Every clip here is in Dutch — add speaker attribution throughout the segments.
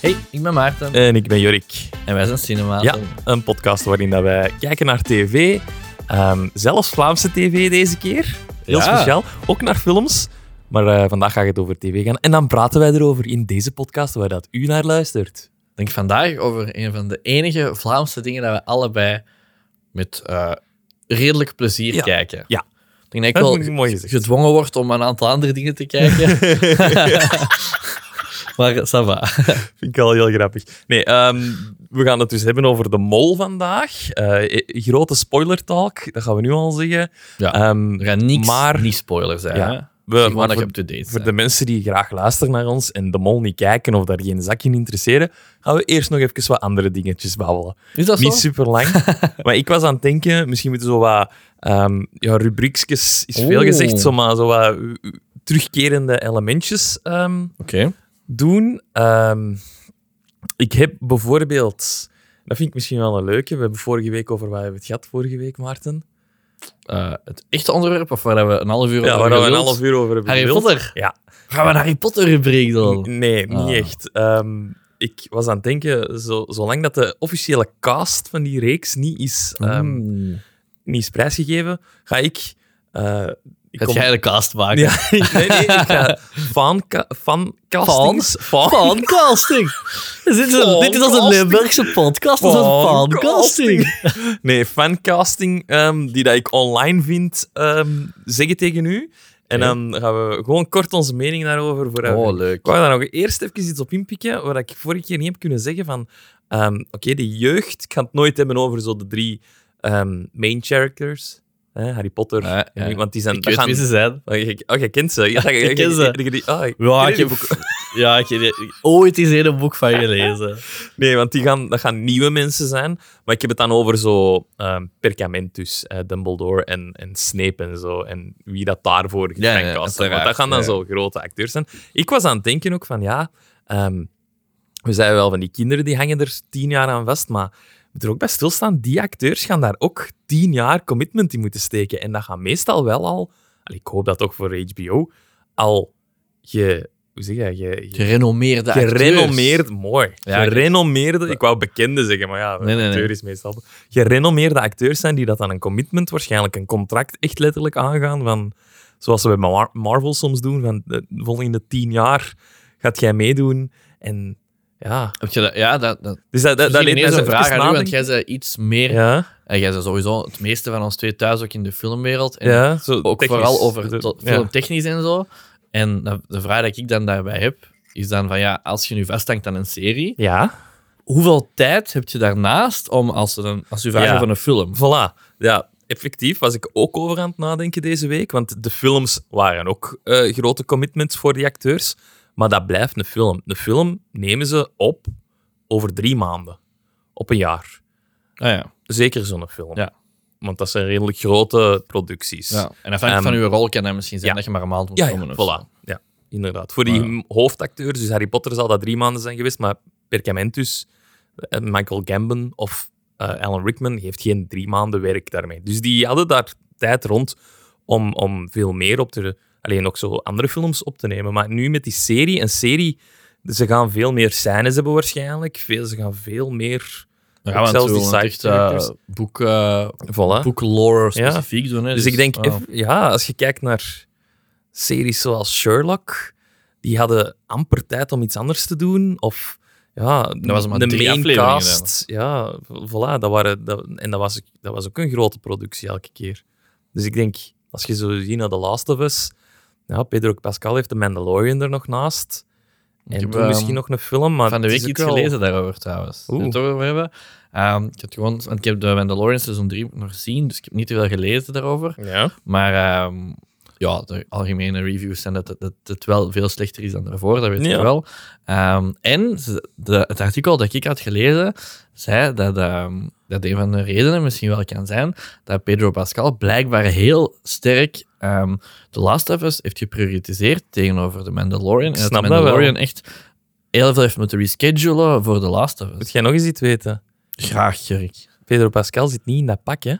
Speaker 1: Hey, ik ben Maarten.
Speaker 2: En ik ben Jorik.
Speaker 1: En wij zijn Cinematen.
Speaker 2: Eh, Ja. Een podcast waarin dat wij kijken naar tv. ehm, zelfs Vlaamse tv deze keer. Heel
Speaker 1: Ja.
Speaker 2: speciaal. Ook naar films. Maar eh, vandaag gaat het over tv gaan. En dan praten wij erover in deze podcast waar dat u naar luistert.
Speaker 1: Ik denk vandaag over een van de enige Vlaamse dingen dat we allebei met eh, redelijk plezier
Speaker 2: Ja.
Speaker 1: kijken.
Speaker 2: Ja.
Speaker 1: Ik denk dat ik
Speaker 2: Dat
Speaker 1: wel
Speaker 2: moet ik mooi gezegd.
Speaker 1: gedwongen word om een aantal andere dingen te kijken. maar eh, ça va.
Speaker 2: Vind ik wel heel grappig. Nee, ehm, we gaan het dus hebben over de mol vandaag. Eh, eh, grote spoiler talk, dat gaan we nu al zeggen.
Speaker 1: Ja.
Speaker 2: Ehm,
Speaker 1: Er gaat niks
Speaker 2: Maar-
Speaker 1: niet spoiler zijn.
Speaker 2: Ja.
Speaker 1: hè.
Speaker 2: we,
Speaker 1: Zeg
Speaker 2: maar
Speaker 1: maar dat je
Speaker 2: voor,
Speaker 1: up-to-date
Speaker 2: voor
Speaker 1: bent.
Speaker 2: de mensen die graag luisteren naar ons en de mol niet kijken of daar geen zak in interesseren, gaan we eerst nog even wat andere dingetjes babbelen.
Speaker 1: Is dat zo?
Speaker 2: Niet super lang. maar ik was aan het denken, misschien moeten we zo wat ehm ja, rubriekjes, is veel
Speaker 1: Oeh.
Speaker 2: gezegd, zo maar zo wat eh, terugkerende elementjes ehm,
Speaker 1: Oké.
Speaker 2: doen. Ehm, ik heb bijvoorbeeld. Dat vind ik misschien wel een leuke. We hebben vorige week over waar we het gehad vorige week, Maarten.
Speaker 1: Eh, het echte onderwerp, of waar we een half uur
Speaker 2: Ja,
Speaker 1: over
Speaker 2: waar we een
Speaker 1: geluld?
Speaker 2: half uur over hebben
Speaker 1: Harry
Speaker 2: geluld.
Speaker 1: Potter.
Speaker 2: Ja.
Speaker 1: Gaan we een Harry Potter rubriek doen?
Speaker 2: N- Nee, niet
Speaker 1: Ah.
Speaker 2: echt. Ehm, ik was aan het denken, zo, zolang dat de officiële cast van die reeks niet is, ehm,
Speaker 1: Mm.
Speaker 2: niet is prijsgegeven, ga ik... eh, ik
Speaker 1: Gaat
Speaker 2: kom-
Speaker 1: jij de cast maken?
Speaker 2: Ja, nee, nee, ik ga fanca- fancastings... Fan?
Speaker 1: Podcasting. Dit is, een, dit is als een
Speaker 2: Podcasting.
Speaker 1: Limburgse podcast. Dat is een podcasting.
Speaker 2: Nee, fancasting ehm, die dat ik online vind, ehm zeggen tegen u. En
Speaker 1: Oké. Oh,
Speaker 2: dan gaan we gewoon kort onze mening daarover eh, vooruit.
Speaker 1: leuk.
Speaker 2: Ik wou daar nog eerst even iets op inpikken, waar ik vorige keer niet heb kunnen zeggen van... ehm, Oké, de jeugd, ik ga het nooit hebben over zo de drie ehm, main characters. Hè, Harry Potter,
Speaker 1: Ja, ja.
Speaker 2: en- want die zijn...
Speaker 1: Ik
Speaker 2: dat
Speaker 1: weet
Speaker 2: gaan-
Speaker 1: wie ze zijn.
Speaker 2: Oh, je, oh, je kent ze. Ja, je- je-
Speaker 1: Ik ken ze.
Speaker 2: je- je- die- oh, ik-
Speaker 1: Ja,
Speaker 2: ken
Speaker 1: ik
Speaker 2: die
Speaker 1: heb ook- ja, ik heb ooit eens een boek van gelezen.
Speaker 2: Nee, want die gaan, dat gaan nieuwe mensen zijn. Maar ik heb het dan over zo ehm Perkamentus, eh, Dumbledore en, en Snape en zo. En wie dat daarvoor
Speaker 1: Ja, ja,
Speaker 2: gefancast heeft. Want
Speaker 1: uiteraard,
Speaker 2: dat gaan dan
Speaker 1: ja.
Speaker 2: zo grote acteurs zijn. Ik was aan het denken ook van, ja... ehm, we zijn wel van die kinderen, die hangen er tien jaar aan vast. Maar je moet er ook bij stilstaan, die acteurs gaan daar ook tien jaar commitment in moeten steken. En dat gaan meestal wel al... allee, ik hoop dat toch voor HBO. Al je... Hoe zeg je dat? Je- je
Speaker 1: Gerenommeerde
Speaker 2: Gerenommeerd, mooi.
Speaker 1: Ja, ik-
Speaker 2: gerenommeerde, ik wou bekende zeggen, maar ja,
Speaker 1: Nee, nee, nee.
Speaker 2: acteur is meestal. Gerenommeerde acteurs zijn die dat aan een commitment, waarschijnlijk een contract, echt letterlijk aangaan. Van, zoals ze bij Mar- Marvel soms doen, van eh, de volgende tien jaar gaat jij meedoen. En ja,
Speaker 1: Heb je dat? Ja, dat, Eh, dat,
Speaker 2: dus dat, dat, dat leed mij
Speaker 1: is
Speaker 2: zo
Speaker 1: een
Speaker 2: even
Speaker 1: vraag aan u, want
Speaker 2: nadenken.
Speaker 1: jij zei iets meer...
Speaker 2: Ja,
Speaker 1: En jij zei sowieso het meeste van ons twee thuis ook in de filmwereld. En
Speaker 2: ja, zo
Speaker 1: Ook
Speaker 2: technisch.
Speaker 1: vooral over
Speaker 2: Zo,
Speaker 1: to-
Speaker 2: ja.
Speaker 1: filmtechnisch en zo. En de- de vraag die ik dan daarbij heb, is dan van ja, als je nu vasthangt aan een serie,
Speaker 2: Ja,
Speaker 1: hoeveel tijd heb je daarnaast om, als, er een, als je vraagt
Speaker 2: Ja.
Speaker 1: van een film?
Speaker 2: voilà. Ja, effectief was ik ook over aan het nadenken deze week, want de films waren ook eh, grote commitments voor die acteurs. Maar dat blijft een film. De film nemen ze op over drie maanden. Op een jaar.
Speaker 1: Ah, ja.
Speaker 2: Zeker zo'n film.
Speaker 1: Ja.
Speaker 2: Want dat zijn redelijk grote producties.
Speaker 1: ja. En afhankelijk van
Speaker 2: Ehm,
Speaker 1: je rol kan dat misschien zijn
Speaker 2: ja.
Speaker 1: dat je maar een maand moet
Speaker 2: Ja, ja,
Speaker 1: komen. of zo.
Speaker 2: voilà. Ja, inderdaad. Voor die
Speaker 1: Maar ja.
Speaker 2: hoofdacteurs, dus Harry Potter zal dat drie maanden zijn geweest, maar Perkamentus, eh, Michael Gambon of eh, Alan Rickman heeft geen drie maanden werk daarmee. Dus die hadden daar tijd rond om, om veel meer op te... Alleen ook zo andere films op te nemen. Maar nu met die serie, een serie... Ze gaan veel meer scènes hebben waarschijnlijk. Veel, ze gaan veel meer...
Speaker 1: Ja,
Speaker 2: ook
Speaker 1: want
Speaker 2: zelfs die
Speaker 1: we willen echt,
Speaker 2: side
Speaker 1: eh,
Speaker 2: characters.
Speaker 1: boek, eh,
Speaker 2: Voilà.
Speaker 1: boeklore
Speaker 2: Ja.
Speaker 1: specifiek doen. Hè,
Speaker 2: Dus ik denk,
Speaker 1: ah.
Speaker 2: eff- ja, als je kijkt naar series zoals Sherlock, die hadden amper tijd om iets anders te doen. Of ja,
Speaker 1: was maar
Speaker 2: de
Speaker 1: drie
Speaker 2: main
Speaker 1: afleveringen
Speaker 2: cast. Ja, v- voilà. Dat waren, dat, en dat was, dat was ook een grote productie elke keer. Dus ik denk, als je zo ziet naar The Last of Us, ja, Pedro Pascal heeft The Mandalorian er nog naast. En
Speaker 1: Ik heb,
Speaker 2: toen
Speaker 1: ehm,
Speaker 2: misschien nog een film, maar
Speaker 1: van de
Speaker 2: het
Speaker 1: week
Speaker 2: is ook
Speaker 1: iets
Speaker 2: wel-
Speaker 1: gelezen daarover trouwens.
Speaker 2: Oeh.
Speaker 1: Zullen we Het over hebben. Ehm, ik, heb gewoon, want ik heb de Mandalorian seizoen 3 nog gezien, dus ik heb niet te veel gelezen daarover.
Speaker 2: Ja.
Speaker 1: Maar ehm, ja, de algemene reviews zijn dat, dat, dat het wel veel slechter is dan daarvoor, dat weet ik
Speaker 2: Ja.
Speaker 1: wel. Ehm, en ze- de, het artikel dat ik had gelezen zei dat, ehm, dat een van de redenen misschien wel kan zijn dat Pedro Pascal blijkbaar heel sterk ehm The Last of Us heeft geprioritiseerd tegenover The Mandalorian. En
Speaker 2: Snap
Speaker 1: dat The
Speaker 2: dat wel.
Speaker 1: Mandalorian echt heel veel heeft moeten reschedulen voor The Last of
Speaker 2: Moet
Speaker 1: Us.
Speaker 2: jij nog eens iets weten?
Speaker 1: Graag, Jurk.
Speaker 2: Pedro Pascal zit niet in dat pak, hè?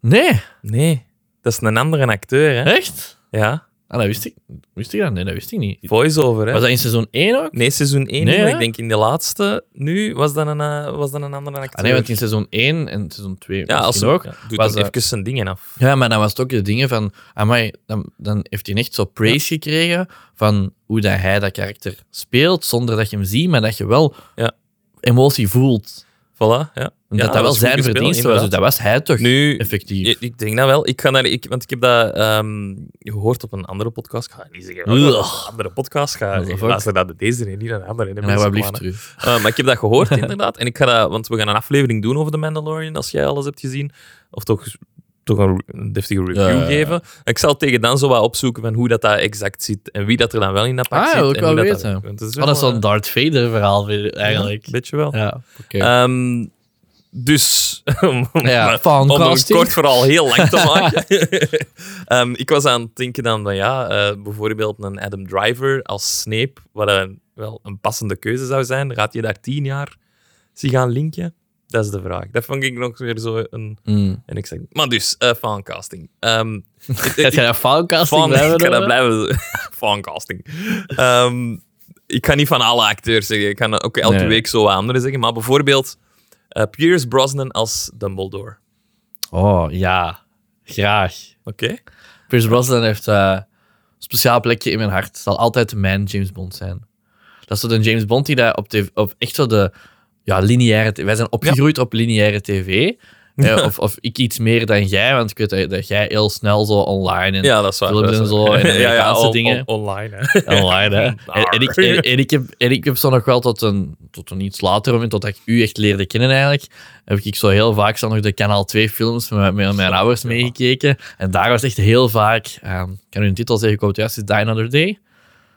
Speaker 1: Nee,
Speaker 2: Nee, dat is een andere acteur, hè?
Speaker 1: echt?
Speaker 2: Ja.
Speaker 1: Ah, dat wist ik. Wist ik dat? Nee, dat wist ik niet.
Speaker 2: Voice-over, hè?
Speaker 1: Was dat in seizoen 1 ook?
Speaker 2: Nee, seizoen 1.
Speaker 1: Nee,
Speaker 2: maar
Speaker 1: hè?
Speaker 2: ik denk in de laatste nu was dat een, eh, was dat een andere acteur.
Speaker 1: Ah, nee, want in seizoen 1 en seizoen 2
Speaker 2: ja, als ze
Speaker 1: ook.
Speaker 2: ook. doet
Speaker 1: was
Speaker 2: dan
Speaker 1: dat-
Speaker 2: even zijn dingen af.
Speaker 1: Ja, maar dan was het ook de dingen van... Amai, dan, dan heeft hij echt zo praise gekregen van hoe dat hij dat karakter speelt, zonder dat je hem ziet, maar dat je wel
Speaker 2: Ja.
Speaker 1: emotie voelt.
Speaker 2: Voilà, ja.
Speaker 1: En
Speaker 2: Ja,
Speaker 1: dat dat wel
Speaker 2: was goed
Speaker 1: zijn
Speaker 2: gespeeld,
Speaker 1: verdienste was. Dus
Speaker 2: inderdaad.
Speaker 1: dat was hij toch
Speaker 2: Nu,
Speaker 1: effectief.
Speaker 2: ik, ik denk dat wel. Ik ga naar, ik, want ik heb dat ehm, gehoord op een andere podcast. Ik ga niet zeggen
Speaker 1: Ugh.
Speaker 2: welke andere podcast. Ga,
Speaker 1: What the fuck?
Speaker 2: luister naar de- deze en niet naar de andere. hè, de
Speaker 1: en hij
Speaker 2: mensen
Speaker 1: wou blieft
Speaker 2: kwamen.
Speaker 1: terug.
Speaker 2: Eh, maar ik heb dat gehoord, inderdaad. En ik ga dat, want we gaan een aflevering doen over The Mandalorian, als jij alles hebt gezien. Of toch, toch een, re- een deftige review
Speaker 1: Ja, ja, ja.
Speaker 2: geven. Ik zal tegen dan zo wat opzoeken van hoe dat, dat exact zit. En wie dat er dan wel in dat pak
Speaker 1: Ah,
Speaker 2: zit.
Speaker 1: wil ik
Speaker 2: en
Speaker 1: wel
Speaker 2: hoe
Speaker 1: weten.
Speaker 2: Dat, want het
Speaker 1: Oh, dat is
Speaker 2: wel,
Speaker 1: zo'n Darth Vader verhaal vind ik,
Speaker 2: eh,
Speaker 1: eigenlijk.
Speaker 2: ja, beetje wel.
Speaker 1: Ja, oké.
Speaker 2: Ehm, dus, om,
Speaker 1: Ja,
Speaker 2: maar- om een
Speaker 1: fantastisch.
Speaker 2: kort vooral heel lang te maken. Ehm, ik was aan het denken dan van ja, eh, bijvoorbeeld een Adam Driver als Snape, wat een, wel een passende keuze zou zijn. Gaat je daar tien jaar zich gaan linken? Dat is de vraag. Dat vond ik nog weer zo een...
Speaker 1: Mm.
Speaker 2: En ik zeg, maar dus, eh fancasting. Ehm, ik- ik-
Speaker 1: Gaat jij dat fauwkasting
Speaker 2: van,
Speaker 1: blijven
Speaker 2: ik ga dat
Speaker 1: noemen?
Speaker 2: blijven fancasting. Ehm, ik ga niet van alle acteurs zeggen. Ik kan ook elke
Speaker 1: Nee.
Speaker 2: week zo wat andere zeggen. Maar bijvoorbeeld eh Pierce Brosnan als Dumbledore.
Speaker 1: Oh, ja. Graag.
Speaker 2: Oké.
Speaker 1: Pierce Brosnan heeft eh, een speciaal plekje in mijn hart. Zal altijd de man James Bond zijn. Dat is zo de James Bond die daar op, tv, op echt zo de ja, lineaire... t- Wij zijn opgegroeid op lineaire tv. Eh, of, of ik iets meer dan jij, want ik weet dat, dat jij heel snel zo online en
Speaker 2: Ja, dat is waar.
Speaker 1: Films
Speaker 2: dat is
Speaker 1: en
Speaker 2: waar.
Speaker 1: zo, en Amerikaanse
Speaker 2: on-
Speaker 1: dingen.
Speaker 2: on- online, hè.
Speaker 1: online. Hè. En, en, ik, en, en ik heb, en ik heb zo nog wel tot een, tot een iets later moment, totdat ik u echt leerde kennen eigenlijk, heb ik zo heel vaak zo nog de Kanaal 2 films met, met mijn ouders meegekeken. En daar was echt heel vaak, ehm, ik kan u een titel zeggen, ik hoop het juist, is Die Another Day.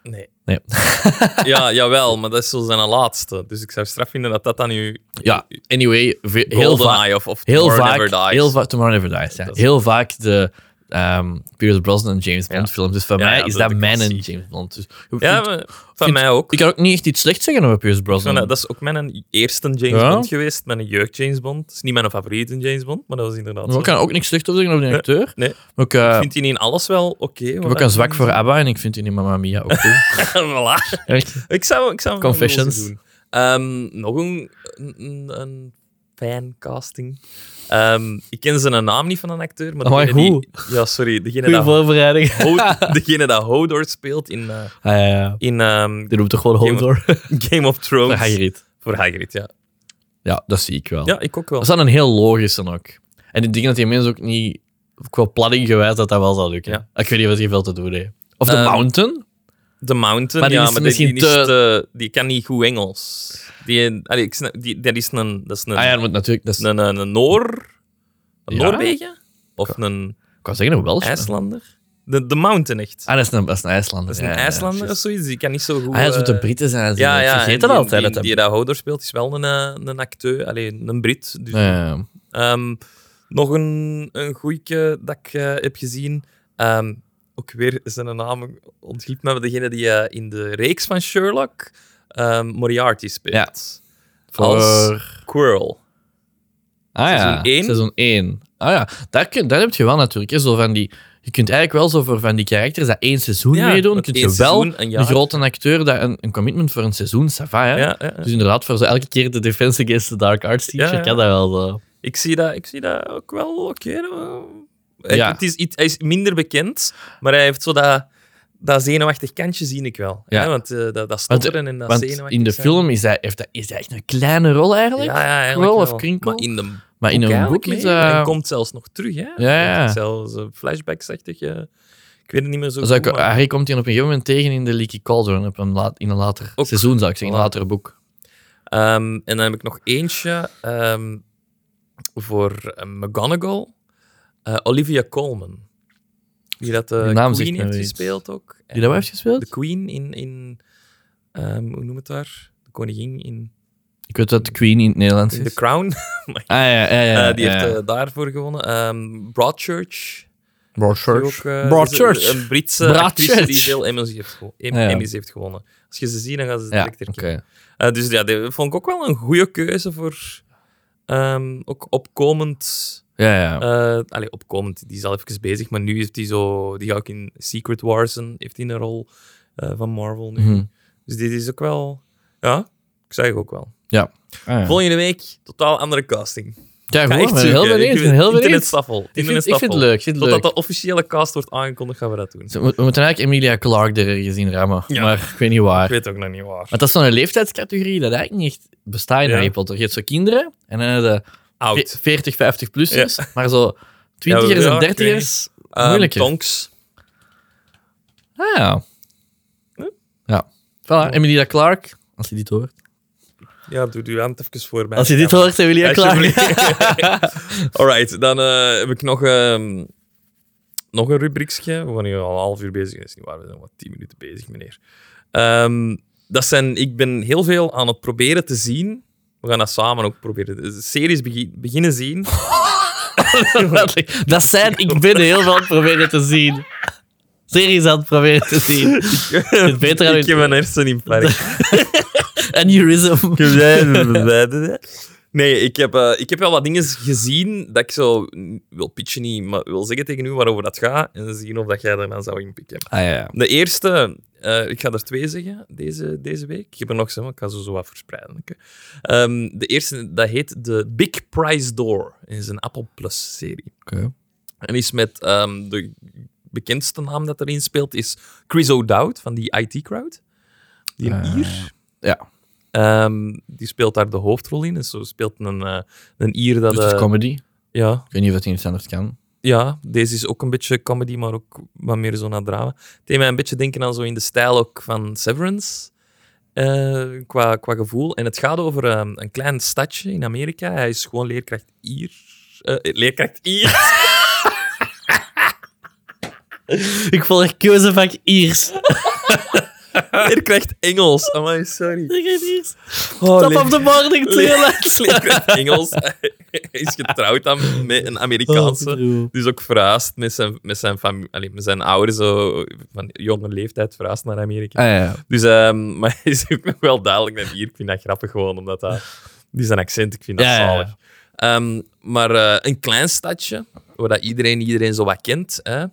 Speaker 2: Nee.
Speaker 1: Nee.
Speaker 2: ja, jawel, maar dat is zo zijn laatste. Dus ik zou straf vinden dat dat dan nu
Speaker 1: Ja, anyway, ve- heel vaak.
Speaker 2: GoldenEye of, of
Speaker 1: Heel
Speaker 2: Tomorrow
Speaker 1: vaak,
Speaker 2: Never Dies.
Speaker 1: heel vaak, Tomorrow Never Dies. Ja.
Speaker 2: Dat is-
Speaker 1: Heel vaak de ehm Pierce Brosnan en James Bond films. Dus voor
Speaker 2: Ja,
Speaker 1: mij
Speaker 2: ja,
Speaker 1: is
Speaker 2: dat is
Speaker 1: dat
Speaker 2: de
Speaker 1: mijn en
Speaker 2: klassieker.
Speaker 1: James Bond. Dus,
Speaker 2: ja,
Speaker 1: ik,
Speaker 2: maar van mij ook.
Speaker 1: ik kan ook niet echt iets slechts zeggen over Pierce
Speaker 2: Ik
Speaker 1: Brosnan.
Speaker 2: vond dat- dat is ook mijn eerste James
Speaker 1: Ja?
Speaker 2: Bond geweest, mijn jeugd James Bond. Het is niet mijn favoriete James Bond, maar dat was inderdaad
Speaker 1: Maar
Speaker 2: zo.
Speaker 1: ik kan ook niks slecht over zeggen over die acteur.
Speaker 2: nee.
Speaker 1: Maar ik, eh,
Speaker 2: Ik vind die niet in alles wel oké.
Speaker 1: Ik heb ook een zwak voor ABBA en ik vind die in Mamma Mia ook goed.
Speaker 2: voilà.
Speaker 1: Echt?
Speaker 2: Ik zou, ik zou
Speaker 1: Confessions.
Speaker 2: wel eens doen. Ehm, nog een, een, een fancasting. Ehm, ik ken zijn naam niet van een acteur, maar
Speaker 1: Amai,
Speaker 2: degene die... Ja, sorry. Degene
Speaker 1: Goeie
Speaker 2: dat,
Speaker 1: voorbereiding.
Speaker 2: Ho- degene dat Hodor speelt in, eh,
Speaker 1: Ah, ja, ja.
Speaker 2: in ehm,
Speaker 1: Die roept toch gewoon
Speaker 2: Game
Speaker 1: Hodor?
Speaker 2: Game of Thrones.
Speaker 1: Voor Hagrid. Oh.
Speaker 2: Voor Hagrid, ja.
Speaker 1: Ja, dat zie ik wel.
Speaker 2: Ja, ik ook wel.
Speaker 1: Dat is dan een heel logische ook. En ik denk dat die mensen ook niet, qua planning gewijs, dat dat wel zal lukken.
Speaker 2: Ja.
Speaker 1: Ik weet niet wat je veel te doen heeft. Of The
Speaker 2: Ehm,
Speaker 1: Mountain?
Speaker 2: The Mountain,
Speaker 1: Maar die
Speaker 2: ja,
Speaker 1: is
Speaker 2: maar die,
Speaker 1: misschien
Speaker 2: die, is
Speaker 1: te-
Speaker 2: te- die kan niet goed Engels. Die, allee, ik snap, die, dat is een... Dat is een,
Speaker 1: Ah ja, want natuurlijk. Dat is,
Speaker 2: een, een, een Noor... Een
Speaker 1: Ja?
Speaker 2: Noorwegen? Of een...
Speaker 1: Ik wou zeggen een Welsh.
Speaker 2: IJslander? De, de Mountain echt.
Speaker 1: Ah, dat is een, dat is een IJslander.
Speaker 2: dat is een
Speaker 1: Ja, ja, ja,
Speaker 2: IJslander of
Speaker 1: juist.
Speaker 2: zoiets. Die kan niet zo goed.
Speaker 1: Ah, ja, dat moeten
Speaker 2: eh,
Speaker 1: Britten zijn. ze-
Speaker 2: Ja, ja.
Speaker 1: Ik
Speaker 2: en
Speaker 1: vergeet dat
Speaker 2: die-
Speaker 1: altijd.
Speaker 2: Die,
Speaker 1: dat
Speaker 2: die dat Hodor speelt is wel een, eh, een acteur, alleen een Brit. Dus,
Speaker 1: dat- Ja,
Speaker 2: ehm, nog een, een goeie dat ik eh, heb gezien. Ehm, ook weer zijn naam ontglipt me. maar Degene die eh, in de reeks van Sherlock ehm, Moriarty speelt. Als
Speaker 1: Voor...
Speaker 2: Quirrell.
Speaker 1: Ah ja,
Speaker 2: Seizoen één.
Speaker 1: Seizoen 1. Ah ja, daar, kun, daar heb je wel natuurlijk. Hè, zo van die, je kunt eigenlijk wel zo voor van die karakters dat één seizoen
Speaker 2: Ja,
Speaker 1: meedoen.
Speaker 2: dat
Speaker 1: Kun
Speaker 2: één
Speaker 1: je wel
Speaker 2: seizoen, een
Speaker 1: een,
Speaker 2: jaar.
Speaker 1: grote acteur dat een, een commitment voor een seizoen, ça va, hè?
Speaker 2: Ja, ja, ja.
Speaker 1: Dus inderdaad, voor zo elke keer de Defense Against the Dark Arts teacher
Speaker 2: Ja, ja.
Speaker 1: kan dat wel. Zo.
Speaker 2: Ik zie dat, ik zie dat ook wel oké. hè.
Speaker 1: Ja.
Speaker 2: Ik- het is, iets- hij is minder bekend, maar hij heeft zo dat, dat zenuwachtig kantje, zie ik wel.
Speaker 1: Ja.
Speaker 2: Hè? Want eh, dat, dat
Speaker 1: Want,
Speaker 2: stotteren en dat
Speaker 1: Want
Speaker 2: zenuwachtig
Speaker 1: in de
Speaker 2: zijn.
Speaker 1: film is hij, heeft hij, is hij echt een kleine rol
Speaker 2: Ja,
Speaker 1: eigenlijk.
Speaker 2: ja, eigenlijk
Speaker 1: Krol of
Speaker 2: wel.
Speaker 1: Krinkel?
Speaker 2: Maar in de
Speaker 1: maar in een boek is
Speaker 2: hij...
Speaker 1: hij...
Speaker 2: komt zelfs nog terug, hè?
Speaker 1: ja.
Speaker 2: Komt Zelfs eh, flashbacksachtig. eh, ik weet het niet meer zo
Speaker 1: Zou ik-
Speaker 2: goed, maar-
Speaker 1: Harry komt hij op een gegeven moment tegen in de Leaky Cauldron op een laat, in een later
Speaker 2: Ook.
Speaker 1: seizoen, zou ik zeggen, in een
Speaker 2: Voilà.
Speaker 1: later boek.
Speaker 2: Ehm, en dan heb ik nog eentje ehm, voor eh, McGonagall. Eh, Olivia Colman. Die dat de
Speaker 1: Die naam zegt
Speaker 2: Queen
Speaker 1: me
Speaker 2: heeft
Speaker 1: wel iets.
Speaker 2: gespeeld ook.
Speaker 1: Die dat wel heeft gespeeld?
Speaker 2: De Queen in. in ehm, hoe noem het daar? De koningin in,
Speaker 1: Ik weet dat de Queen in het Nederlands
Speaker 2: in The
Speaker 1: is.
Speaker 2: Crown.
Speaker 1: Ah ja, ja, ja.
Speaker 2: Eh, die
Speaker 1: ja,
Speaker 2: heeft
Speaker 1: ja.
Speaker 2: eh, daarvoor gewonnen. Ehm, Broadchurch. die
Speaker 1: Broadchurch.
Speaker 2: Ook, eh,
Speaker 1: Broadchurch.
Speaker 2: is Een, een Britse
Speaker 1: Broadchurch.
Speaker 2: actrice die veel Emmys heeft, gewo- Em-
Speaker 1: Ja, ja.
Speaker 2: Emmys heeft gewonnen. Als je ze ziet, dan gaan ze het
Speaker 1: Ja,
Speaker 2: direct
Speaker 1: oké.
Speaker 2: herkennen. Eh, dus ja, dat vond ik ook wel een goede keuze voor ehm, ook opkomend
Speaker 1: Ja, ja.
Speaker 2: Eh, allee, opkomend, die is al even bezig, maar nu heeft hij zo, die ga ik in Secret Wars en heeft hij een rol eh, van Marvel nu.
Speaker 1: Mhm.
Speaker 2: Dus dit is ook wel, ja, ik zeg ook wel.
Speaker 1: Ah, ja.
Speaker 2: Volgende week, totaal andere casting.
Speaker 1: Ja, eh,
Speaker 2: Ga
Speaker 1: goed,
Speaker 2: echt
Speaker 1: ik ben heel
Speaker 2: zoeken.
Speaker 1: benieuwd. Ik ben
Speaker 2: het
Speaker 1: heel
Speaker 2: internet
Speaker 1: benieuwd.
Speaker 2: staffel.
Speaker 1: Ik
Speaker 2: Internet
Speaker 1: vind, ik vind
Speaker 2: staffel.
Speaker 1: het leuk. Ik vind het
Speaker 2: Totdat
Speaker 1: leuk.
Speaker 2: de officiële cast wordt aangekondigd, gaan we dat doen.
Speaker 1: Ze mo- We moeten eigenlijk Emilia Clark erin gezien rammen.
Speaker 2: Ja.
Speaker 1: Maar ik weet niet
Speaker 2: Ik
Speaker 1: waar.
Speaker 2: weet ook nog niet waar.
Speaker 1: Want dat is zo'n leeftijdscategorie dat eigenlijk niet echt bestaat in
Speaker 2: Ja.
Speaker 1: Harry Potter. Je hebt zo kinderen en dan heb je de
Speaker 2: Oud.
Speaker 1: ve- 40, 50 plussers. Maar zo
Speaker 2: Ja,
Speaker 1: twintigers
Speaker 2: ja,
Speaker 1: en
Speaker 2: ik weet
Speaker 1: dertigers.
Speaker 2: Ehm,
Speaker 1: moeilijker.
Speaker 2: Tonks.
Speaker 1: Ah ja. Ja. Voilà, Emilia Clark. Als je dit hoort.
Speaker 2: Ja, doe uw hand even voor mij.
Speaker 1: Als je dit
Speaker 2: Ja,
Speaker 1: hoort, Emilia Clark.
Speaker 2: Alsjeblieft. Alright, dan eh, heb ik nog, ehm, nog een rubriekje. We zijn nu al een half uur bezig. Dat is niet waar, we zijn wat tien minuten bezig, meneer. Ehm, dat zijn, ik ben heel veel aan het proberen te zien. We gaan dat samen ook proberen. Dus Series begin- beginnen zien.
Speaker 1: dat zijn, ik ben heel veel aan het proberen te zien. Series aan het proberen te zien.
Speaker 2: Het
Speaker 1: beter aan
Speaker 2: ik
Speaker 1: je-
Speaker 2: heb mijn herseninfarct.
Speaker 1: Aneurysm.
Speaker 2: Nee, ik heb, eh, ik heb wel wat dingen gezien dat ik zo mm, wil pitchen niet, maar wil zeggen tegen u waarover dat gaat en zien of dat jij daarna zou inpikken.
Speaker 1: Ah ja, ja.
Speaker 2: De eerste, eh, ik ga er twee zeggen deze, deze week. Ik heb er nog zo, maar ik ga ze zo wat verspreiden. oké. Ehm, de eerste, dat heet de Big Prize Door. en is een Apple Plus-serie.
Speaker 1: Oké.
Speaker 2: En is met ehm, de bekendste naam dat erin speelt, is Chris O'Dowd van die IT-crowd. Die een
Speaker 1: Ah,
Speaker 2: Ier.
Speaker 1: ja.
Speaker 2: Ehm, die speelt daar de hoofdrol in. En zo speelt een, eh, een Ier dat...
Speaker 1: Dus het is
Speaker 2: eh,
Speaker 1: comedy.
Speaker 2: ja,
Speaker 1: Ik weet niet of dat in het standaard kan.
Speaker 2: ja, deze is ook een beetje comedy, maar ook wat meer zo naar drama. Het deed mij een beetje denken aan zo in de stijl ook van Severance. eh, qua, qua gevoel. En het gaat over ehm, een klein stadje in Amerika. Hij is gewoon leerkracht Ier. Eh, leerkracht Ier.
Speaker 1: Ik volg keuzevak Iers.
Speaker 2: leerkracht Engels. Amai, sorry. Oh,
Speaker 1: Top
Speaker 2: leer-
Speaker 1: of the morning, Clearlands.
Speaker 2: leerkracht Engels. Hij is getrouwd aan, met een Amerikaanse. Dus ook verhuisd met zijn, met zijn, fami- allee, met zijn ouders, zo, van jonge leeftijd verhuisd naar Amerika.
Speaker 1: Ah ja.
Speaker 2: Dus, ehm, maar hij is ook nog wel duidelijk naar hier. Ik vind dat grappig gewoon, omdat dat... Die zijn accent, ik vind dat
Speaker 1: Ja, ja, ja.
Speaker 2: zalig. Ehm, maar eh, een klein stadje, waar dat iedereen iedereen zo wat kent. Hè?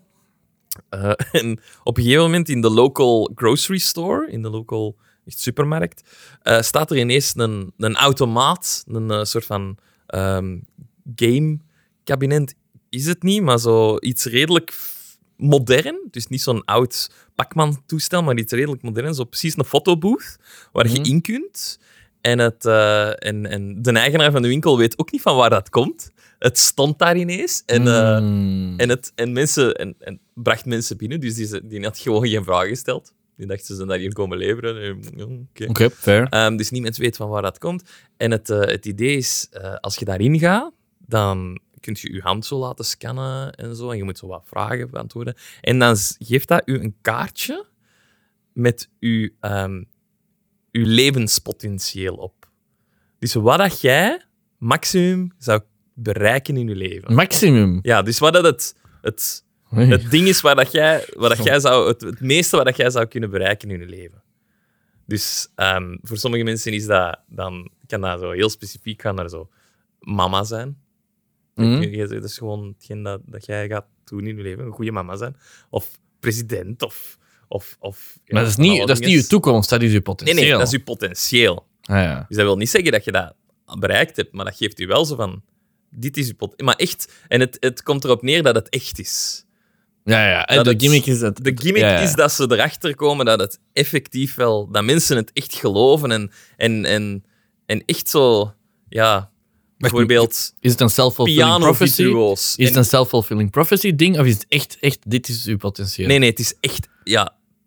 Speaker 2: Eh, en op een gegeven moment in de local grocery store, in de local echt supermarkt, eh, staat er ineens een, een automaat, een eh, soort van ehm, game kabinet is het niet, maar zo iets redelijk f- modern. Dus niet zo'n oud Pacman-toestel, maar iets redelijk modern. Zo precies een fotobooth waar
Speaker 1: Mhm.
Speaker 2: je in kunt. En, het, eh, en, en de eigenaar van de winkel weet ook niet van waar dat komt. Het stond daar ineens en, eh,
Speaker 1: Mm.
Speaker 2: en, het, en, mensen, en, en bracht mensen binnen. Dus die, ze- die had gewoon geen vragen gesteld. Die dacht, ze zijn daar hier komen leveren. Eh, ja, oké.
Speaker 1: Oké, fair.
Speaker 2: Ehm, dus niemand weet van waar dat komt. En het, eh, het idee is, eh, als je daarin gaat, dan kun je je hand zo laten scannen en zo. En je moet zo wat vragen beantwoorden. En dan z- geeft dat u een kaartje met uw, ehm, uw levenspotentieel op. Dus wat dat jij maximum zou bereiken in je
Speaker 1: Mm.
Speaker 2: leven.
Speaker 1: Maximum.
Speaker 2: Ja, dus wat dat het, het, het ding is waar dat jij, waar dat jij zou, het, het meeste wat dat jij zou kunnen bereiken in je leven. Dus ehm, voor sommige mensen is dat, dan kan dat zo heel specifiek gaan naar zo mama zijn.
Speaker 1: Mm.
Speaker 2: Je- je- Dat is gewoon hetgeen dat, dat jij gaat doen in je leven, een goede mama zijn. Of president, of... of, of ja,
Speaker 1: Maar dat is
Speaker 2: van
Speaker 1: niet,
Speaker 2: alle
Speaker 1: dat is niet
Speaker 2: dinges.
Speaker 1: je toekomst, dat is je
Speaker 2: Nee,
Speaker 1: potentieel.
Speaker 2: nee, dat is je potentieel.
Speaker 1: Ah, ja.
Speaker 2: Dus dat wil niet zeggen dat je dat bereikt hebt, maar dat geeft u wel zo van... Dit is je potentieel. Maar echt, en het, het komt erop neer dat het echt is.
Speaker 1: Ja, ja. En
Speaker 2: Dat
Speaker 1: de
Speaker 2: het-
Speaker 1: gimmick is Nou, dat...
Speaker 2: De gimmick
Speaker 1: ja, ja.
Speaker 2: is dat ze erachter komen dat het effectief wel, dat mensen het echt geloven en, en, en, en echt zo, ja, bijvoorbeeld
Speaker 1: Is het een self-fulfilling
Speaker 2: piano
Speaker 1: prophecy?
Speaker 2: virtuoos.
Speaker 1: Is
Speaker 2: En-
Speaker 1: het een self-fulfilling prophecy ding? Of is het echt, echt, dit is uw potentieel?
Speaker 2: Nee, nee, het is echt, ja,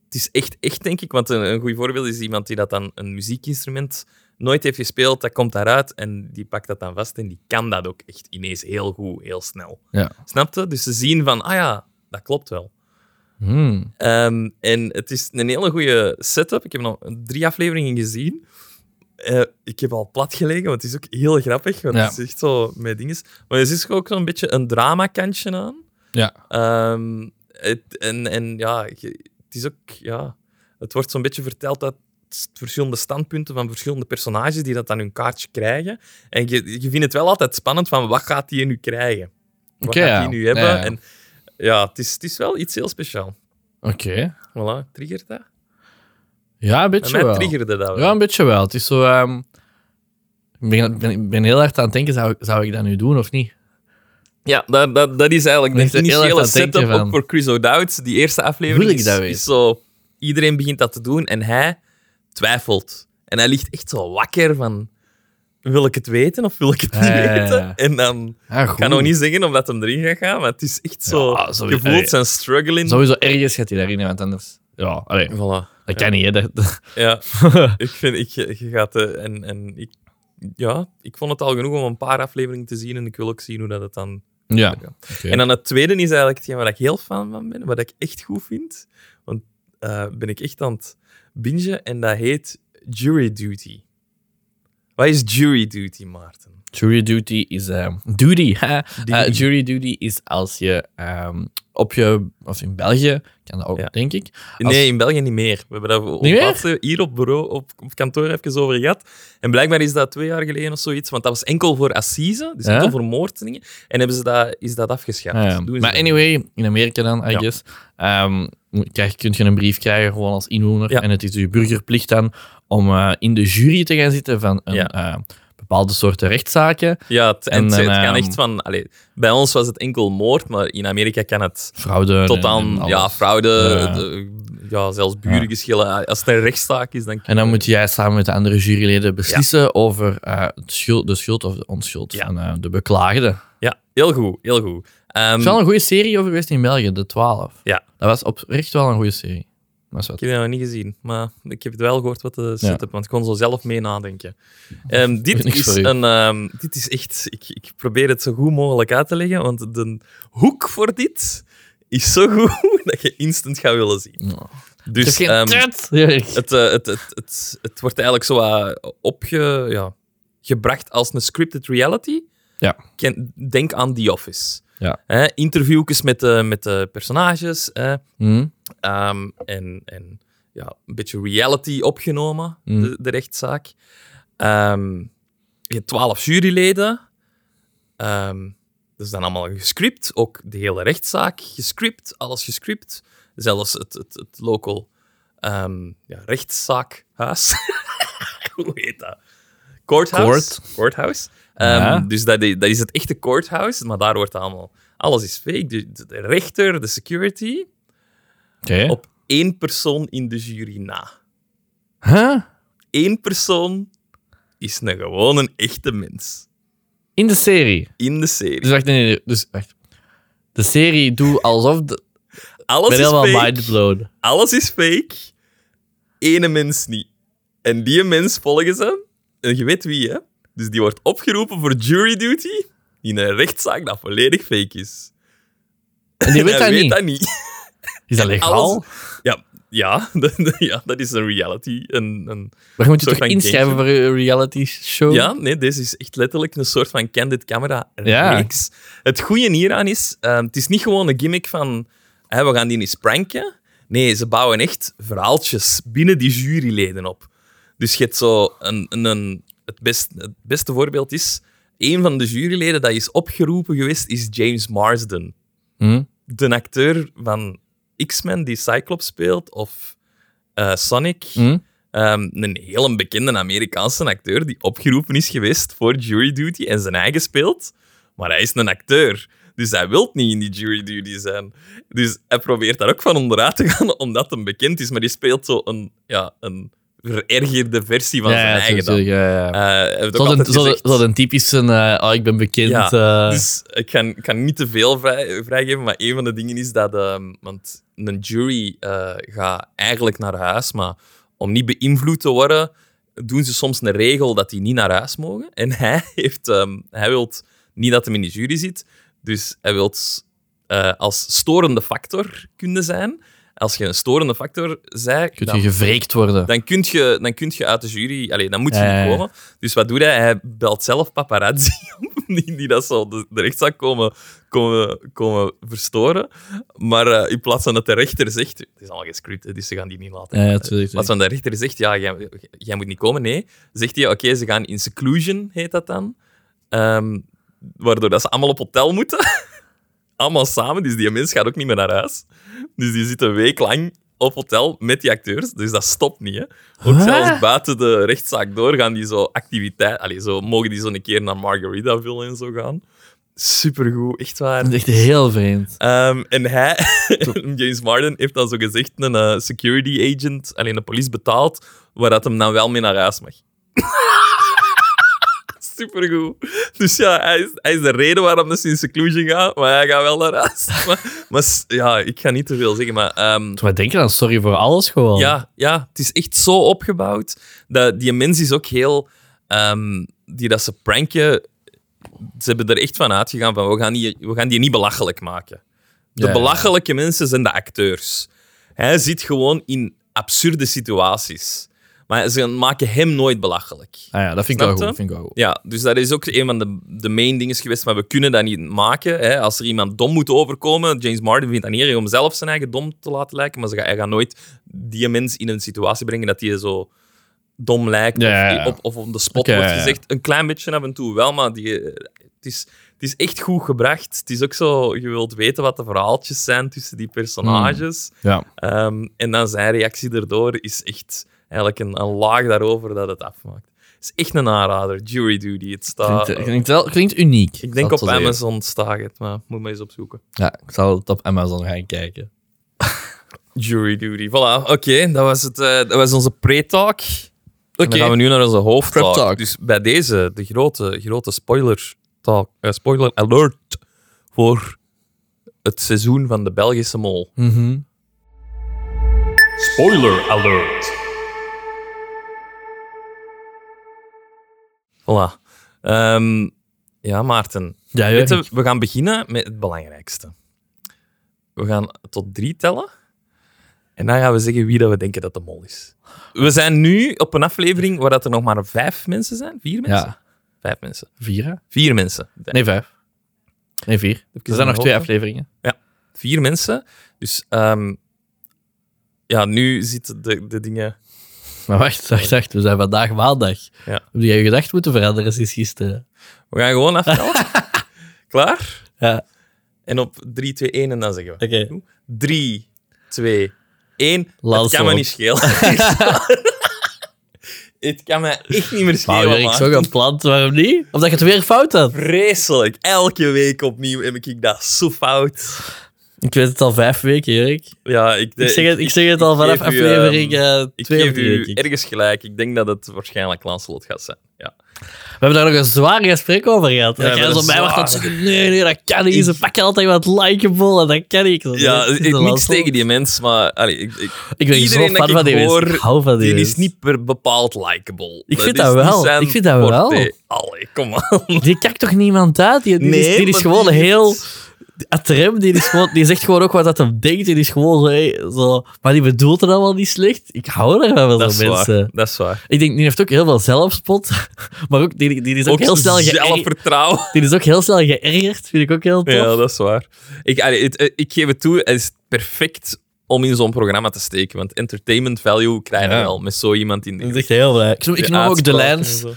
Speaker 2: het is echt, echt denk ik, want een, een goed voorbeeld is iemand die dat dan een muziekinstrument nooit heeft gespeeld, dat komt daaruit en die pakt dat dan vast en die kan dat ook echt ineens heel goed, heel snel.
Speaker 1: Ja.
Speaker 2: Snap je? Dus ze zien van, ah ja, dat klopt wel.
Speaker 1: Hmm.
Speaker 2: Ehm, en het is een hele goede setup. Ik heb nog drie afleveringen gezien. Eh, ik heb al plat gelegen, want het is ook heel grappig. Want
Speaker 1: Ja.
Speaker 2: het is echt zo met dinges. Maar er is ook zo'n beetje een dramakantje aan.
Speaker 1: Ja.
Speaker 2: Ehm, het, en, en ja, je- het is ook... Ja, het wordt zo'n beetje verteld uit verschillende standpunten van verschillende personages die dat aan hun kaartje krijgen. En je, je vindt het wel altijd spannend van wat gaat die nu krijgen. wat
Speaker 1: Oké,
Speaker 2: gaat
Speaker 1: ja.
Speaker 2: die nu hebben.
Speaker 1: Ja, ja.
Speaker 2: En ja, het is, het is wel iets heel speciaal.
Speaker 1: Oké.
Speaker 2: Voilà, triggert dat?
Speaker 1: Ja, een
Speaker 2: Bij
Speaker 1: beetje
Speaker 2: mij
Speaker 1: wel.
Speaker 2: triggerde dat wel.
Speaker 1: Ja, een beetje wel. Het is zo... ehm, ik ben, ben, ben heel hard aan het denken, zou, ik- zou ik dat nu doen of niet?
Speaker 2: Ja, dat, dat, dat is eigenlijk dus
Speaker 1: Ik
Speaker 2: de
Speaker 1: moest er heel erg
Speaker 2: initiële
Speaker 1: aan denken
Speaker 2: setup
Speaker 1: van-
Speaker 2: ook voor Chris O'Dowd. Die eerste aflevering
Speaker 1: Wil ik
Speaker 2: is,
Speaker 1: dat weten?
Speaker 2: is zo... Iedereen begint dat te doen en hij twijfelt. En hij ligt echt zo wakker van... Wil ik het weten of wil ik het
Speaker 1: Ja,
Speaker 2: niet
Speaker 1: ja, ja, ja.
Speaker 2: weten? En dan...
Speaker 1: Ah,
Speaker 2: Ik kan nog niet zeggen of dat hem erin gaat gaan, maar het is echt zo...
Speaker 1: Ja, sorry,
Speaker 2: je voelt
Speaker 1: allee.
Speaker 2: zijn struggle in.
Speaker 1: Sowieso ergens gaat hij daarin, want anders... Ja, allee,
Speaker 2: Voilà.
Speaker 1: dat kan niet, hè. Dat- dat-
Speaker 2: Ja, ik vind... Ik, je gaat... eh, en, en ik... Ja, ik vond het al genoeg om een paar afleveringen te zien en ik wil ook zien hoe dat het dan...
Speaker 1: ja.
Speaker 2: En dan het tweede is eigenlijk hetgeen waar ik heel fan van ben, wat ik echt goed vind. Want eh, ben ik echt aan het bingen en dat heet Jury Duty. Wat is Jury Duty, Maarten?
Speaker 1: Jury duty is... ehm, duty, hè. Eh,
Speaker 2: Duty.
Speaker 1: jury duty is als je ehm, op je... Of in België kan dat ook,
Speaker 2: Ja.
Speaker 1: denk ik. Als-
Speaker 2: Nee, in België niet meer. We hebben daar op
Speaker 1: Niet meer?
Speaker 2: laatst hier op, bureau, op, op kantoor even over gehad. En blijkbaar is dat twee jaar geleden of zoiets, want dat was enkel voor assise, dus
Speaker 1: Ja?
Speaker 2: enkel voor moordingen. En hebben ze dat, is dat afgeschaft.
Speaker 1: Ah, ja.
Speaker 2: Doen ze
Speaker 1: maar
Speaker 2: dat niet.
Speaker 1: anyway, in Amerika dan, I
Speaker 2: Ja.
Speaker 1: guess, ehm, moet- krijg, kun je een brief krijgen gewoon als inwoner.
Speaker 2: Ja.
Speaker 1: En het is je burgerplicht dan om eh, in de jury te gaan zitten van een,
Speaker 2: Ja.
Speaker 1: eh, bepaalde soorten rechtszaken.
Speaker 2: Ja, het, en
Speaker 1: En
Speaker 2: het-
Speaker 1: dan,
Speaker 2: het kan
Speaker 1: ehm,
Speaker 2: echt van... allee, bij ons was het enkel moord, maar in Amerika kan het
Speaker 1: Fraude.
Speaker 2: tot
Speaker 1: en- en
Speaker 2: aan
Speaker 1: alles.
Speaker 2: ja, fraude,
Speaker 1: Ja.
Speaker 2: de- ja, zelfs burengeschillen. Als het een rechtszaak is, dan...
Speaker 1: En dan moet jij samen met de andere juryleden beslissen over eh, het schuld, de schuld of de onschuld
Speaker 2: Ja.
Speaker 1: van eh, de beklaagde.
Speaker 2: Ja, heel goed, heel goed. Ehm,
Speaker 1: Het is wel een goede serie over geweest in België, de 12.
Speaker 2: Ja.
Speaker 1: Dat was oprecht wel een goede serie. Maar is wat.
Speaker 2: Ik heb dat nog niet gezien, maar ik heb het wel gehoord wat de setup, want ik kon zo zelf mee nadenken. Ehm, dit,
Speaker 1: Niks
Speaker 2: is
Speaker 1: voor u.
Speaker 2: een, ehm, dit is echt, ik, ik probeer het zo goed mogelijk uit te leggen, want de hoek voor dit is zo goed dat je instant gaat willen zien.
Speaker 1: Nou. Het is
Speaker 2: Dus
Speaker 1: geen
Speaker 2: ehm,
Speaker 1: trut, Jurk.
Speaker 2: het, eh, het, het, het, het wordt eigenlijk zo wat opge, ja, gebracht als een scripted reality.
Speaker 1: Ja.
Speaker 2: Ken- Denk aan The Office.
Speaker 1: Ja.
Speaker 2: Hè, interviewjes met de, met de personages. hè.
Speaker 1: Hm?
Speaker 2: Ehm, en en ja, een beetje reality opgenomen,
Speaker 1: Mm.
Speaker 2: de, de rechtszaak. Ehm, je hebt twaalf juryleden. Ehm dat is dan allemaal gescript. Ook de hele rechtszaak gescript, alles gescript. Zelfs het, het, het local ehm, ja, rechtszaakhuis. Hoe heet dat? Courthouse.
Speaker 1: Court.
Speaker 2: Courthouse. Ehm,
Speaker 1: Ja.
Speaker 2: Dus dat, i- dat is het echte courthouse, maar daar wordt allemaal... Alles is fake. De, de- de rechter, de security
Speaker 1: Oké.
Speaker 2: op één persoon in de jury na.
Speaker 1: Huh?
Speaker 2: Eén persoon is een gewoon een echte mens
Speaker 1: In de serie.
Speaker 2: in de serie.
Speaker 1: Dus wacht, nee, nee, nee, Dus wacht. De serie doe alsof... De,
Speaker 2: Alles
Speaker 1: ben
Speaker 2: is
Speaker 1: helemaal
Speaker 2: fake.
Speaker 1: mindblown.
Speaker 2: Alles is fake. Ene mens niet. En die mens volgen ze. En je weet wie, hè? Dus die wordt opgeroepen voor jury duty in een rechtszaak dat volledig fake is.
Speaker 1: En die weet
Speaker 2: hij
Speaker 1: dat
Speaker 2: weet
Speaker 1: niet.
Speaker 2: dat niet.
Speaker 1: Is dat legaal?
Speaker 2: Alles- ja, ja, ja, dat is een reality. Een, een,
Speaker 1: Maar je moet je
Speaker 2: soort
Speaker 1: toch
Speaker 2: van
Speaker 1: inschrijven voor een reality show?
Speaker 2: Ja, nee, deze is echt letterlijk een soort van candid camera
Speaker 1: Ja.
Speaker 2: reeks. Het goede hieraan is, ehm, het is niet gewoon een gimmick van hè, we gaan die eens pranken. Nee, ze bouwen echt verhaaltjes binnen die juryleden op. Dus je hebt zo een... een, een- het, best, het beste voorbeeld is, een van de juryleden dat is opgeroepen geweest is James Marsden.
Speaker 1: Hm?
Speaker 2: De acteur van X-Men die Cyclops speelt, of eh, Sonic...
Speaker 1: Hm?
Speaker 2: Ehm, een heel bekende Amerikaanse acteur die opgeroepen is geweest voor jury duty en zijn eigen speelt. Maar hij is een acteur. Dus hij wil niet in die jury duty zijn. Dus hij probeert daar ook van onderuit te gaan, omdat hem bekend is. Maar die speelt zo een, ja, een verergerde versie van
Speaker 1: Ja,
Speaker 2: zijn
Speaker 1: ja,
Speaker 2: eigen. dan.
Speaker 1: natuurlijk, ja, ja.
Speaker 2: Eh, hij heeft ook
Speaker 1: Zo een,
Speaker 2: altijd
Speaker 1: zo,
Speaker 2: gezegd-
Speaker 1: zo een typische, eh, oh, ik ben bekend.
Speaker 2: Ja,
Speaker 1: eh,
Speaker 2: dus ik kan, ik kan niet te veel vrij, vrijgeven, maar een van de dingen is dat... ehm, want een jury eh, gaat eigenlijk naar huis, maar om niet beïnvloed te worden, doen ze soms een regel dat die niet naar huis mogen. En hij, heeft, ehm, hij wil niet dat hem in de jury zit, dus hij wil eh, als storende factor kunnen zijn. Als je een storende factor zei,
Speaker 1: kun
Speaker 2: dan-
Speaker 1: je gevreekt worden.
Speaker 2: dan kun je, dan kun je uit de jury, allee, dan moet je
Speaker 1: Ja, ja,
Speaker 2: niet
Speaker 1: ja.
Speaker 2: komen. Dus wat doet hij? Hij belt zelf paparazzi op, die, die dat zo de, de rechtszaak komen, komen, komen verstoren. Maar eh, in plaats van dat de rechter zegt, het is allemaal gescript, dus ze gaan die niet laten.
Speaker 1: Ja, ja,
Speaker 2: Eh,
Speaker 1: tuurlijk,
Speaker 2: in plaats van de rechter zegt, ja, jij, jij moet niet komen, nee, zegt hij, oké, ze gaan in seclusion, heet dat dan. Ehm, waardoor dat ze allemaal op hotel moeten. allemaal samen. Dus die mens gaat ook niet meer naar huis. Dus die zit een week lang op hotel met die acteurs. Dus dat stopt niet. Hè. Ook
Speaker 1: Huh?
Speaker 2: zelfs buiten de rechtszaak door gaan die zo activiteit... Allee, zo mogen die zo een keer naar Margaritaville en zo gaan. Supergoed, echt waar.
Speaker 1: Dat is echt heel vreemd.
Speaker 2: Ehm, en hij, James Marden, heeft dan zo gezegd een eh, security agent, alleen de police betaald, waar dat hem dan wel mee naar huis mag. Supergoed. Dus ja, hij is, hij is de reden waarom dat ze in seclusion gaan, maar hij gaat wel naar huis. Maar, maar s- ja, ik ga niet te veel zeggen, maar... ehm,
Speaker 1: Maar denk je dan, sorry voor alles gewoon.
Speaker 2: ja, ja, het is echt zo opgebouwd. Dat, die mens is ook heel... ehm, die dat ze pranken... Ze hebben er echt van uitgegaan van, we gaan die, we gaan die niet belachelijk maken. De
Speaker 1: Ja.
Speaker 2: belachelijke mensen zijn de acteurs. Hij zit gewoon in absurde situaties. Maar ze maken hem nooit belachelijk.
Speaker 1: Ah ja, dat vind ik wel
Speaker 2: Snap je?
Speaker 1: goed. Vind ik wel goed.
Speaker 2: Ja, dus dat is ook een van de, de main dingen geweest, maar we kunnen dat niet maken. Hè. Als er iemand dom moet overkomen, James Martin vindt dat niet erg om zelf zijn eigen dom te laten lijken, maar ze ga- hij gaat nooit die mens in een situatie brengen dat hij zo dom lijkt
Speaker 1: Ja, ja,
Speaker 2: of,
Speaker 1: ja.
Speaker 2: die op, of op de spot
Speaker 1: Oké,
Speaker 2: wordt
Speaker 1: ja, ja.
Speaker 2: gezegd. Een klein beetje af en toe wel, maar die, eh, het, is, het is echt goed gebracht. Het is ook zo, je wilt weten wat de verhaaltjes zijn tussen die
Speaker 1: Hmm.
Speaker 2: personages.
Speaker 1: Ja.
Speaker 2: Ehm, en dan zijn reactie daardoor is echt eigenlijk een, een laag daarover dat het afmaakt. Het is echt een aanrader, Jury Duty. Het staat,
Speaker 1: Klinkt, eh, klinkt, wel, klinkt uniek.
Speaker 2: ik
Speaker 1: zal
Speaker 2: denk
Speaker 1: het
Speaker 2: op
Speaker 1: zo zeggen.
Speaker 2: Amazon staat het, maar moet maar eens opzoeken.
Speaker 1: Ja, ik zal het op Amazon gaan kijken.
Speaker 2: Jury Duty. Voilà, oké, dat, was het, eh, dat was onze pre-talk. Oké.
Speaker 1: Oké.
Speaker 2: Dan gaan we nu naar onze hoofdtalk.
Speaker 1: Prep talk.
Speaker 2: Dus bij deze, de grote, grote spoiler, talk, eh, spoiler alert voor het seizoen van de Belgische Mol.
Speaker 3: Spoiler alert!
Speaker 2: Voilà. Ehm, ja, Maarten.
Speaker 1: Ja,
Speaker 2: Weet
Speaker 1: Jurgen,
Speaker 2: je, we gaan beginnen met het belangrijkste. We gaan tot drie tellen. En dan gaan we zeggen wie dat we denken dat de mol is. We zijn nu op een aflevering waar dat er nog maar vijf mensen zijn. Vier mensen?
Speaker 1: Ja.
Speaker 2: Vijf mensen.
Speaker 1: vier, hè?
Speaker 2: Vier mensen.
Speaker 1: Nee, vijf. Nee, vier.
Speaker 2: ik
Speaker 1: Er zijn nog
Speaker 2: een
Speaker 1: twee
Speaker 2: hoofd?
Speaker 1: afleveringen.
Speaker 2: Vier mensen. Dus ehm, ja, nu zitten de, de dingen...
Speaker 1: Maar wacht, wacht, wacht. We zijn vandaag maandag.
Speaker 2: Ja.
Speaker 1: Heb jij je gedacht moeten veranderen sinds gisteren?
Speaker 2: We gaan gewoon aftellen. Klaar?
Speaker 1: Ja.
Speaker 2: En op 3, 2, 1 en dan zeggen we.
Speaker 1: Oké.
Speaker 2: 3, 2, 1. Het
Speaker 1: Laat
Speaker 2: kan me
Speaker 1: zo.
Speaker 2: niet schelen. Het kan me echt niet meer
Speaker 1: Maar
Speaker 2: schelen.
Speaker 1: Jurgen, ik
Speaker 2: man.
Speaker 1: zo gaan plant, waarom niet? Of dat je het weer fout had?
Speaker 2: Vreselijk. Elke week opnieuw heb ik dat zo fout.
Speaker 1: Ik weet het al vijf weken, Jurk.
Speaker 2: Ja, ik,
Speaker 1: Ik zeg het, ik zeg het al
Speaker 2: ik
Speaker 1: vanaf
Speaker 2: geef u,
Speaker 1: aflevering
Speaker 2: ehm,
Speaker 1: eh,
Speaker 2: ik
Speaker 1: twee of
Speaker 2: geef
Speaker 1: drie, denk
Speaker 2: u
Speaker 1: ik.
Speaker 2: ergens gelijk. Ik denk dat het waarschijnlijk Lancelot gaat zijn. Ja.
Speaker 1: We hebben daar nog een zwaar gesprek over gehad.
Speaker 2: Ja,
Speaker 1: dat jij zo
Speaker 2: maar dat is
Speaker 1: bij was dat
Speaker 2: zwaar.
Speaker 1: zeggen, nee, nee, dat kan niet. Ze pakken altijd wat likeable en dat kan ik. niet.
Speaker 2: Ja,
Speaker 1: Dat is
Speaker 2: ik,
Speaker 1: de
Speaker 2: niks
Speaker 1: last van.
Speaker 2: tegen die mens, maar allee, ik, ik,
Speaker 1: Ik ben zo
Speaker 2: Iedereen dat
Speaker 1: fan
Speaker 2: ik
Speaker 1: van die
Speaker 2: hoor,
Speaker 1: mensen. Ik hou van die
Speaker 2: die is
Speaker 1: mensen.
Speaker 2: niet per bepaald likable.
Speaker 1: Ik vind dat wel. Ik vind dat wel.
Speaker 2: Allee, kom aan.
Speaker 1: Die kijkt toch niemand uit? Die, die is, die is
Speaker 2: maar
Speaker 1: gewoon
Speaker 2: die-
Speaker 1: heel... Atrem, die, is gewoon, die zegt gewoon ook wat dat hem denkt. Die is gewoon zo, hey, zo... Maar die bedoelt het allemaal niet slecht. Ik hou ervan van
Speaker 2: Dat is
Speaker 1: zo'n mensen.
Speaker 2: waar. Dat is waar.
Speaker 1: Ik denk, die heeft ook heel veel zelfspot. Maar ook, die, die is ook, heel snel geërgerd.
Speaker 2: zelfvertrouwen.
Speaker 1: Die is ook heel snel geërgerd. Vind ik ook heel tof.
Speaker 2: Ja, dat is waar. Ik, allee, het- eh, ik geef het toe, het is perfect om in zo'n programma te steken. Want entertainment value krijgen we
Speaker 1: Ja.
Speaker 2: wel met zo iemand in
Speaker 1: Dat
Speaker 2: de
Speaker 1: is echt heel blij. Ik noem, ik noem hem ook de
Speaker 2: uitspraken en
Speaker 1: Lens.
Speaker 2: zo.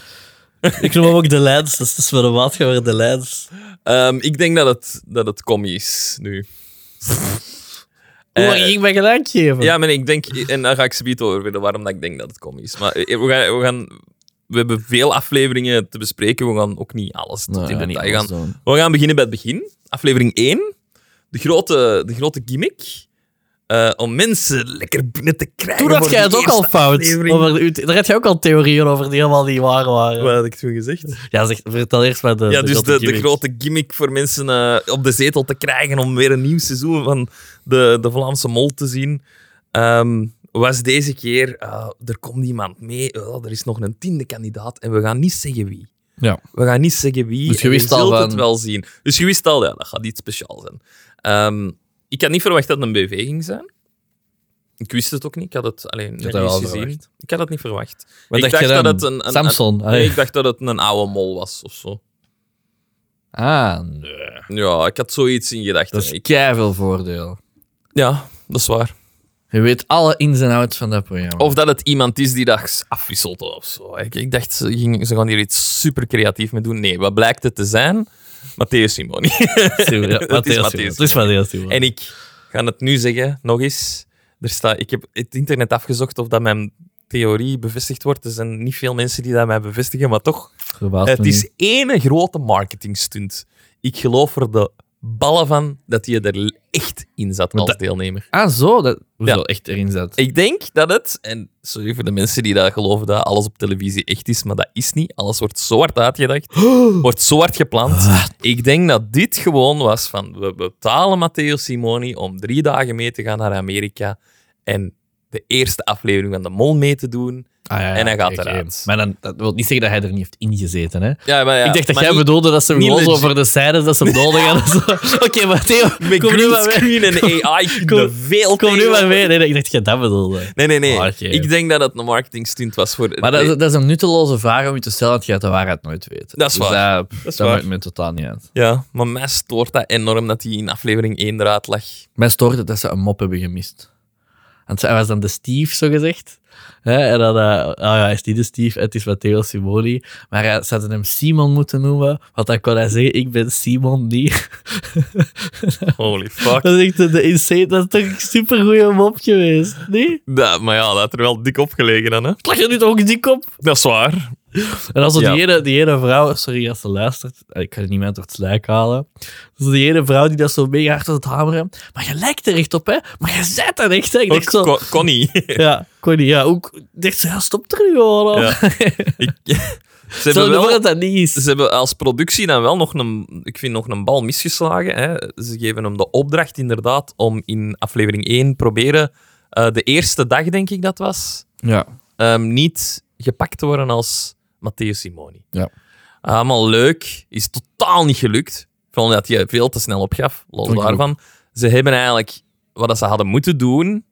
Speaker 1: Ik noem hem ook de Lens. Dus dat is voor de maatgever de Lens.
Speaker 2: Ehm, ik denk dat het, dat het commie is nu.
Speaker 1: Hoe mag
Speaker 2: Eh,
Speaker 1: ik mijn gelijk geven?
Speaker 2: Ja, maar ik denk, en daar ga ik zometeen over willen waarom dat ik denk dat het kom is. Maar eh, we gaan, we gaan, we hebben veel afleveringen te bespreken. We gaan ook niet alles
Speaker 1: Nou
Speaker 2: tot in detail gaan. We gaan beginnen bij het begin. Aflevering 1. De grote, de grote gimmick. eh, om mensen lekker binnen te krijgen.
Speaker 1: Toen had
Speaker 2: voor
Speaker 1: jij het
Speaker 2: de
Speaker 1: ook al
Speaker 2: eerste
Speaker 1: fout.
Speaker 2: aflevering.
Speaker 1: Over, u- daar had jij ook al theorieën over die helemaal niet waar waren.
Speaker 2: Wat had ik toen gezegd?
Speaker 1: ja, zeg, vertel eerst maar de,
Speaker 2: Ja, dus de, de
Speaker 1: gimmick.
Speaker 2: grote gimmick voor mensen eh, op de zetel te krijgen om weer een nieuw seizoen van de, de Vlaamse Mol te zien, ehm, was deze keer, eh, er komt iemand mee, oh, er is nog een tiende kandidaat en we gaan niet zeggen wie.
Speaker 1: Ja.
Speaker 2: We gaan niet zeggen wie,
Speaker 1: Dus je
Speaker 2: en
Speaker 1: wist al
Speaker 2: zult
Speaker 1: van-
Speaker 2: het wel zien. Dus je wist al, ja, dat gaat iets speciaals zijn. Ehm, ik had niet verwacht dat het een BV ging zijn. Ik wist het ook niet, ik had het alleen
Speaker 1: had dat wel
Speaker 2: gezien.
Speaker 1: verwacht.
Speaker 2: Ik had het niet verwacht.
Speaker 1: Wat
Speaker 2: ik
Speaker 1: dacht je dan?
Speaker 2: dat het een, een, een-
Speaker 1: Samson.
Speaker 2: nee,
Speaker 1: Allee.
Speaker 2: ik dacht dat het een oude mol was of zo.
Speaker 1: Ah, nee.
Speaker 2: Ja, ik had zoiets in gedachten.
Speaker 1: Dat is
Speaker 2: Ik-
Speaker 1: keiveel voordeel.
Speaker 2: Ja, dat is waar.
Speaker 1: Je weet alle ins en outs van dat programma.
Speaker 2: Of dat het iemand is die dat afwisselt of zo. Ik, ik dacht, ze, ging- ze gaan hier iets super creatief mee doen. Nee, wat blijkt het te zijn? Matthäus
Speaker 1: Matthäus,
Speaker 2: Simoni. het is Matthäus
Speaker 1: Simon. Het is Matthäus Simon.
Speaker 2: en ik ga het nu zeggen, nog eens. Er staat, ik heb het internet afgezocht of dat mijn theorie bevestigd wordt. Er zijn niet veel mensen die dat mij bevestigen, maar toch.
Speaker 1: Verbaast me
Speaker 2: Het
Speaker 1: niet.
Speaker 2: is één grote marketingstunt. Ik geloof er de ballen van dat hij er echt in zat
Speaker 1: Want
Speaker 2: als
Speaker 1: dat-
Speaker 2: deelnemer.
Speaker 1: Ah, zo? Dat, hoezo
Speaker 2: Ja.
Speaker 1: echt erin zat?
Speaker 2: Ik denk dat het, en sorry voor de mensen die dat geloven dat alles op televisie echt is, maar dat is niet. Alles wordt zo hard uitgedacht, wordt zo hard gepland.
Speaker 1: Ah.
Speaker 2: Ik denk dat dit gewoon was van, we betalen Matteo Simoni om drie dagen mee te gaan naar Amerika en de eerste aflevering van De Mol mee te doen.
Speaker 1: Ah, ja, ja,
Speaker 2: En hij gaat
Speaker 1: oké.
Speaker 2: eruit.
Speaker 1: Maar dan, dat wil niet zeggen dat hij er niet heeft ingezeten, hè?
Speaker 2: Ja, maar ja,
Speaker 1: ik dacht dat
Speaker 2: maar
Speaker 1: jij
Speaker 2: niet-
Speaker 1: bedoelde dat ze hem
Speaker 2: niet
Speaker 1: gewoon zo
Speaker 2: legit.
Speaker 1: voor de zijdes dat ze hem nodig hadden. Zo, Oké, maar Theo,
Speaker 2: Met
Speaker 1: kom nu maar mee.
Speaker 2: greenscreen en AI
Speaker 1: Kom-
Speaker 2: de veel
Speaker 1: Kom nu
Speaker 2: tegen.
Speaker 1: maar mee. Nee, nee, ik dacht dat je dat bedoelde.
Speaker 2: Nee, nee, nee.
Speaker 1: Oh, oké.
Speaker 2: Ik denk dat het een marketingstunt was voor...
Speaker 1: Maar dat, is- dat is een nutteloze vraag om je te stellen, want je gaat de waarheid nooit weten.
Speaker 2: Dat is
Speaker 1: dus
Speaker 2: waar.
Speaker 1: Dat,
Speaker 2: is
Speaker 1: dat
Speaker 2: waar.
Speaker 1: maakt me totaal niet uit.
Speaker 2: Ja, maar mij stoort dat enorm dat hij in aflevering 1 eruit lag.
Speaker 1: Mij stoort het dat ze een mop hebben gemist. Want hij was dan de Steve, zo gezegd. Hè, en dan, eh, oh ja, is die de Steve? Het is Matteo Simoni. Maar hij, ze hadden hem Simon moeten noemen, want dan kon hij zeggen: Ik ben Simon die.
Speaker 2: Holy fuck.
Speaker 1: Dat is echt een- de insane. Dat is toch een supergoeie mop geweest, nee?
Speaker 2: Dat, maar ja, dat had er wel dik op gelegen dan, hè?
Speaker 1: Lag je nu toch ook dik op?
Speaker 2: Dat is waar.
Speaker 1: En als zo
Speaker 2: Ja.
Speaker 1: die, ene, die ene vrouw, sorry als ze luistert, eh, ik ga het niet meer door het slijk halen. Dus die ene vrouw die dat zo mega hard aan het hameren. Maar je lijkt er echt op, hè? Maar je zet er echt, hè? Ik
Speaker 2: Ook
Speaker 1: dacht zo,
Speaker 2: Co- Connie.
Speaker 1: ja, Connie, ja, ook. ik dacht zo, ja, stop er nu gewoon op.
Speaker 2: Ja. Ik- ze,
Speaker 1: Stel
Speaker 2: hebben
Speaker 1: je voor
Speaker 2: wel,
Speaker 1: dat dat niet is.
Speaker 2: ze hebben als productie dan wel nog een, ik vind, nog een bal misgeslagen. Hè? Ze geven hem de opdracht inderdaad om in aflevering 1 proberen, eh, de eerste dag denk ik dat was,
Speaker 1: Ja.
Speaker 2: ehm, niet gepakt te worden als Matteo Simoni.
Speaker 1: Ja.
Speaker 2: Allemaal leuk. Is totaal niet gelukt. Vooral omdat je veel te snel opgaf. Los
Speaker 1: Vond ik
Speaker 2: daarvan. Ze hebben eigenlijk... Wat dat ze hadden moeten doen,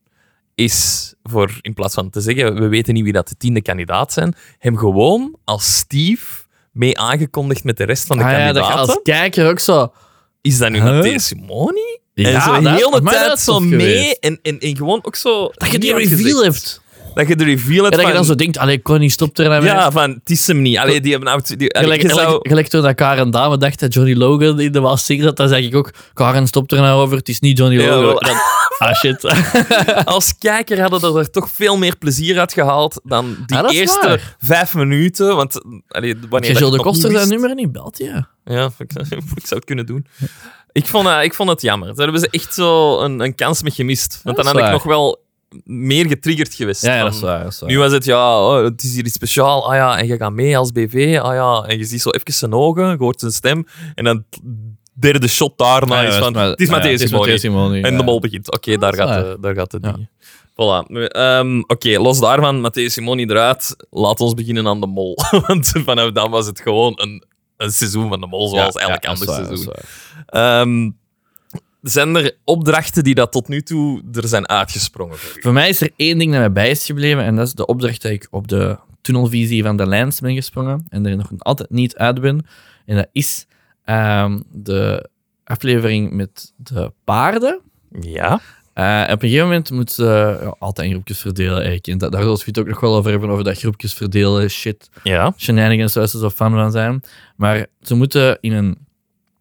Speaker 2: is voor... In plaats van te zeggen, we weten niet wie dat de tiende kandidaat zijn, hem gewoon als Steve mee aangekondigd met de rest van de
Speaker 1: Ah, ja, dat je
Speaker 2: kandidaten.
Speaker 1: als kijker ook zo.
Speaker 2: Is dat nu
Speaker 1: Huh?
Speaker 2: Matteo Simoni?
Speaker 1: Ja,
Speaker 2: en zo
Speaker 1: dat-
Speaker 2: heel de
Speaker 1: maar dat
Speaker 2: tijd
Speaker 1: is
Speaker 2: zo
Speaker 1: tof
Speaker 2: mee.
Speaker 1: geweest.
Speaker 2: En, en, en gewoon ook zo...
Speaker 1: Dat je die
Speaker 2: niet
Speaker 1: reveal
Speaker 2: uitgezegd.
Speaker 1: hebt.
Speaker 2: Dat je de reveal hebt
Speaker 1: En dat je
Speaker 2: van-
Speaker 1: dan zo denkt: Allee, Connie, stop er naar mij.
Speaker 2: ja, van, het is hem niet. Allee, die hebben... nou- Die,
Speaker 1: Gelijk,
Speaker 2: je zou-
Speaker 1: gelijk, gelijk toen dat Karen Dame dacht dat Johnny Logan in de was zingen, dan zeg ik ook: Karen, stop er nou over, het is niet Johnny
Speaker 2: Ja,
Speaker 1: Logan.
Speaker 2: wel.
Speaker 1: Dan, ah shit.
Speaker 2: als kijker hadden we er toch veel meer plezier uit gehaald dan die
Speaker 1: Ah, dat is
Speaker 2: eerste
Speaker 1: waar.
Speaker 2: vijf minuten. Want allee,
Speaker 1: Je
Speaker 2: wanneer dat
Speaker 1: Jules de
Speaker 2: nog niet
Speaker 1: Koster zijn
Speaker 2: wist-
Speaker 1: nummer niet belt, ja.
Speaker 2: Ja, ik, ik zou het kunnen doen. Ik vond, eh, ik vond het jammer. Daar hebben ze echt zo een, een kans mee gemist. Want
Speaker 1: Dat
Speaker 2: dan
Speaker 1: is
Speaker 2: had ik nog
Speaker 1: waar.
Speaker 2: wel meer getriggerd geweest.
Speaker 1: Ja, ja, dat
Speaker 2: Van,
Speaker 1: is waar. Dat is waar.
Speaker 2: Nu was het, ja, oh, het is hier iets speciaal. Ah ja, en je gaat mee als BV. Ah ja, en je ziet zo even zijn ogen, je hoort zijn stem. En dan het derde shot daarna
Speaker 1: Ah Ja,
Speaker 2: is
Speaker 1: dat
Speaker 2: van,
Speaker 1: maar-
Speaker 2: het is
Speaker 1: ja,
Speaker 2: Matthäus Simoni.
Speaker 1: Simoni,
Speaker 2: En
Speaker 1: ja.
Speaker 2: de mol begint. Oké, daar,
Speaker 1: dat is
Speaker 2: gaat
Speaker 1: waar.
Speaker 2: de- daar gaat het
Speaker 1: Ja.
Speaker 2: ding. Voilà. Nu, ehm, Oké, los daarvan, Matteo Simoni eruit. Laat ons beginnen aan de mol. Want vanaf dan was het gewoon een, een seizoen van de mol, zoals
Speaker 1: Ja,
Speaker 2: elk
Speaker 1: ja, dat is
Speaker 2: ander
Speaker 1: waar,
Speaker 2: seizoen.
Speaker 1: dat is waar.
Speaker 2: Ehm, zijn er opdrachten die dat tot nu toe er zijn uitgesprongen voor u?
Speaker 1: Voor mij is er één ding dat mij bij is gebleven en dat is de opdracht dat ik op de tunnelvisie van de lijns ben gesprongen en er nog altijd niet uit ben. En dat is ehm, de aflevering met de paarden.
Speaker 2: Ja.
Speaker 1: Eh, op een gegeven moment moet ze ja, altijd in groepjes verdelen. Eigenlijk. En daar wil we het ook nog wel over hebben, over dat groepjes verdelen, shit,
Speaker 2: Ja.
Speaker 1: shenanigans, zoals ze zo fan van zijn. Maar ze moeten in een,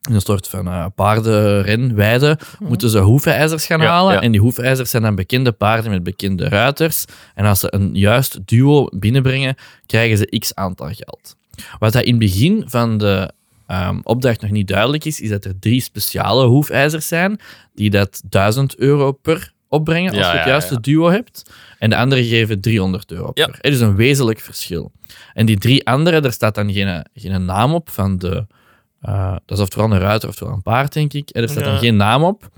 Speaker 1: in een soort van eh, paardenren, weide, moeten ze hoefijzers gaan
Speaker 2: Mhm. Ja,
Speaker 1: halen.
Speaker 2: ja.
Speaker 1: En die hoefijzers zijn dan bekende paarden met bekende ruiters. En als ze een juist duo binnenbrengen, krijgen ze x aantal geld. Wat dat in het begin van de ehm, opdracht nog niet duidelijk is, is dat er drie speciale hoefijzers zijn die dat 1000 euro per opbrengen als
Speaker 2: Ja,
Speaker 1: je het
Speaker 2: ja,
Speaker 1: juiste
Speaker 2: ja.
Speaker 1: duo hebt. En de anderen geven 300 euro
Speaker 2: Ja.
Speaker 1: per. Er is een wezenlijk verschil. En die drie anderen, daar staat dan geen, geen naam op van de... eh, dat is oftewel een ruiter, oftewel een paard, denk ik. En er staat
Speaker 2: Ja.
Speaker 1: dan geen naam op.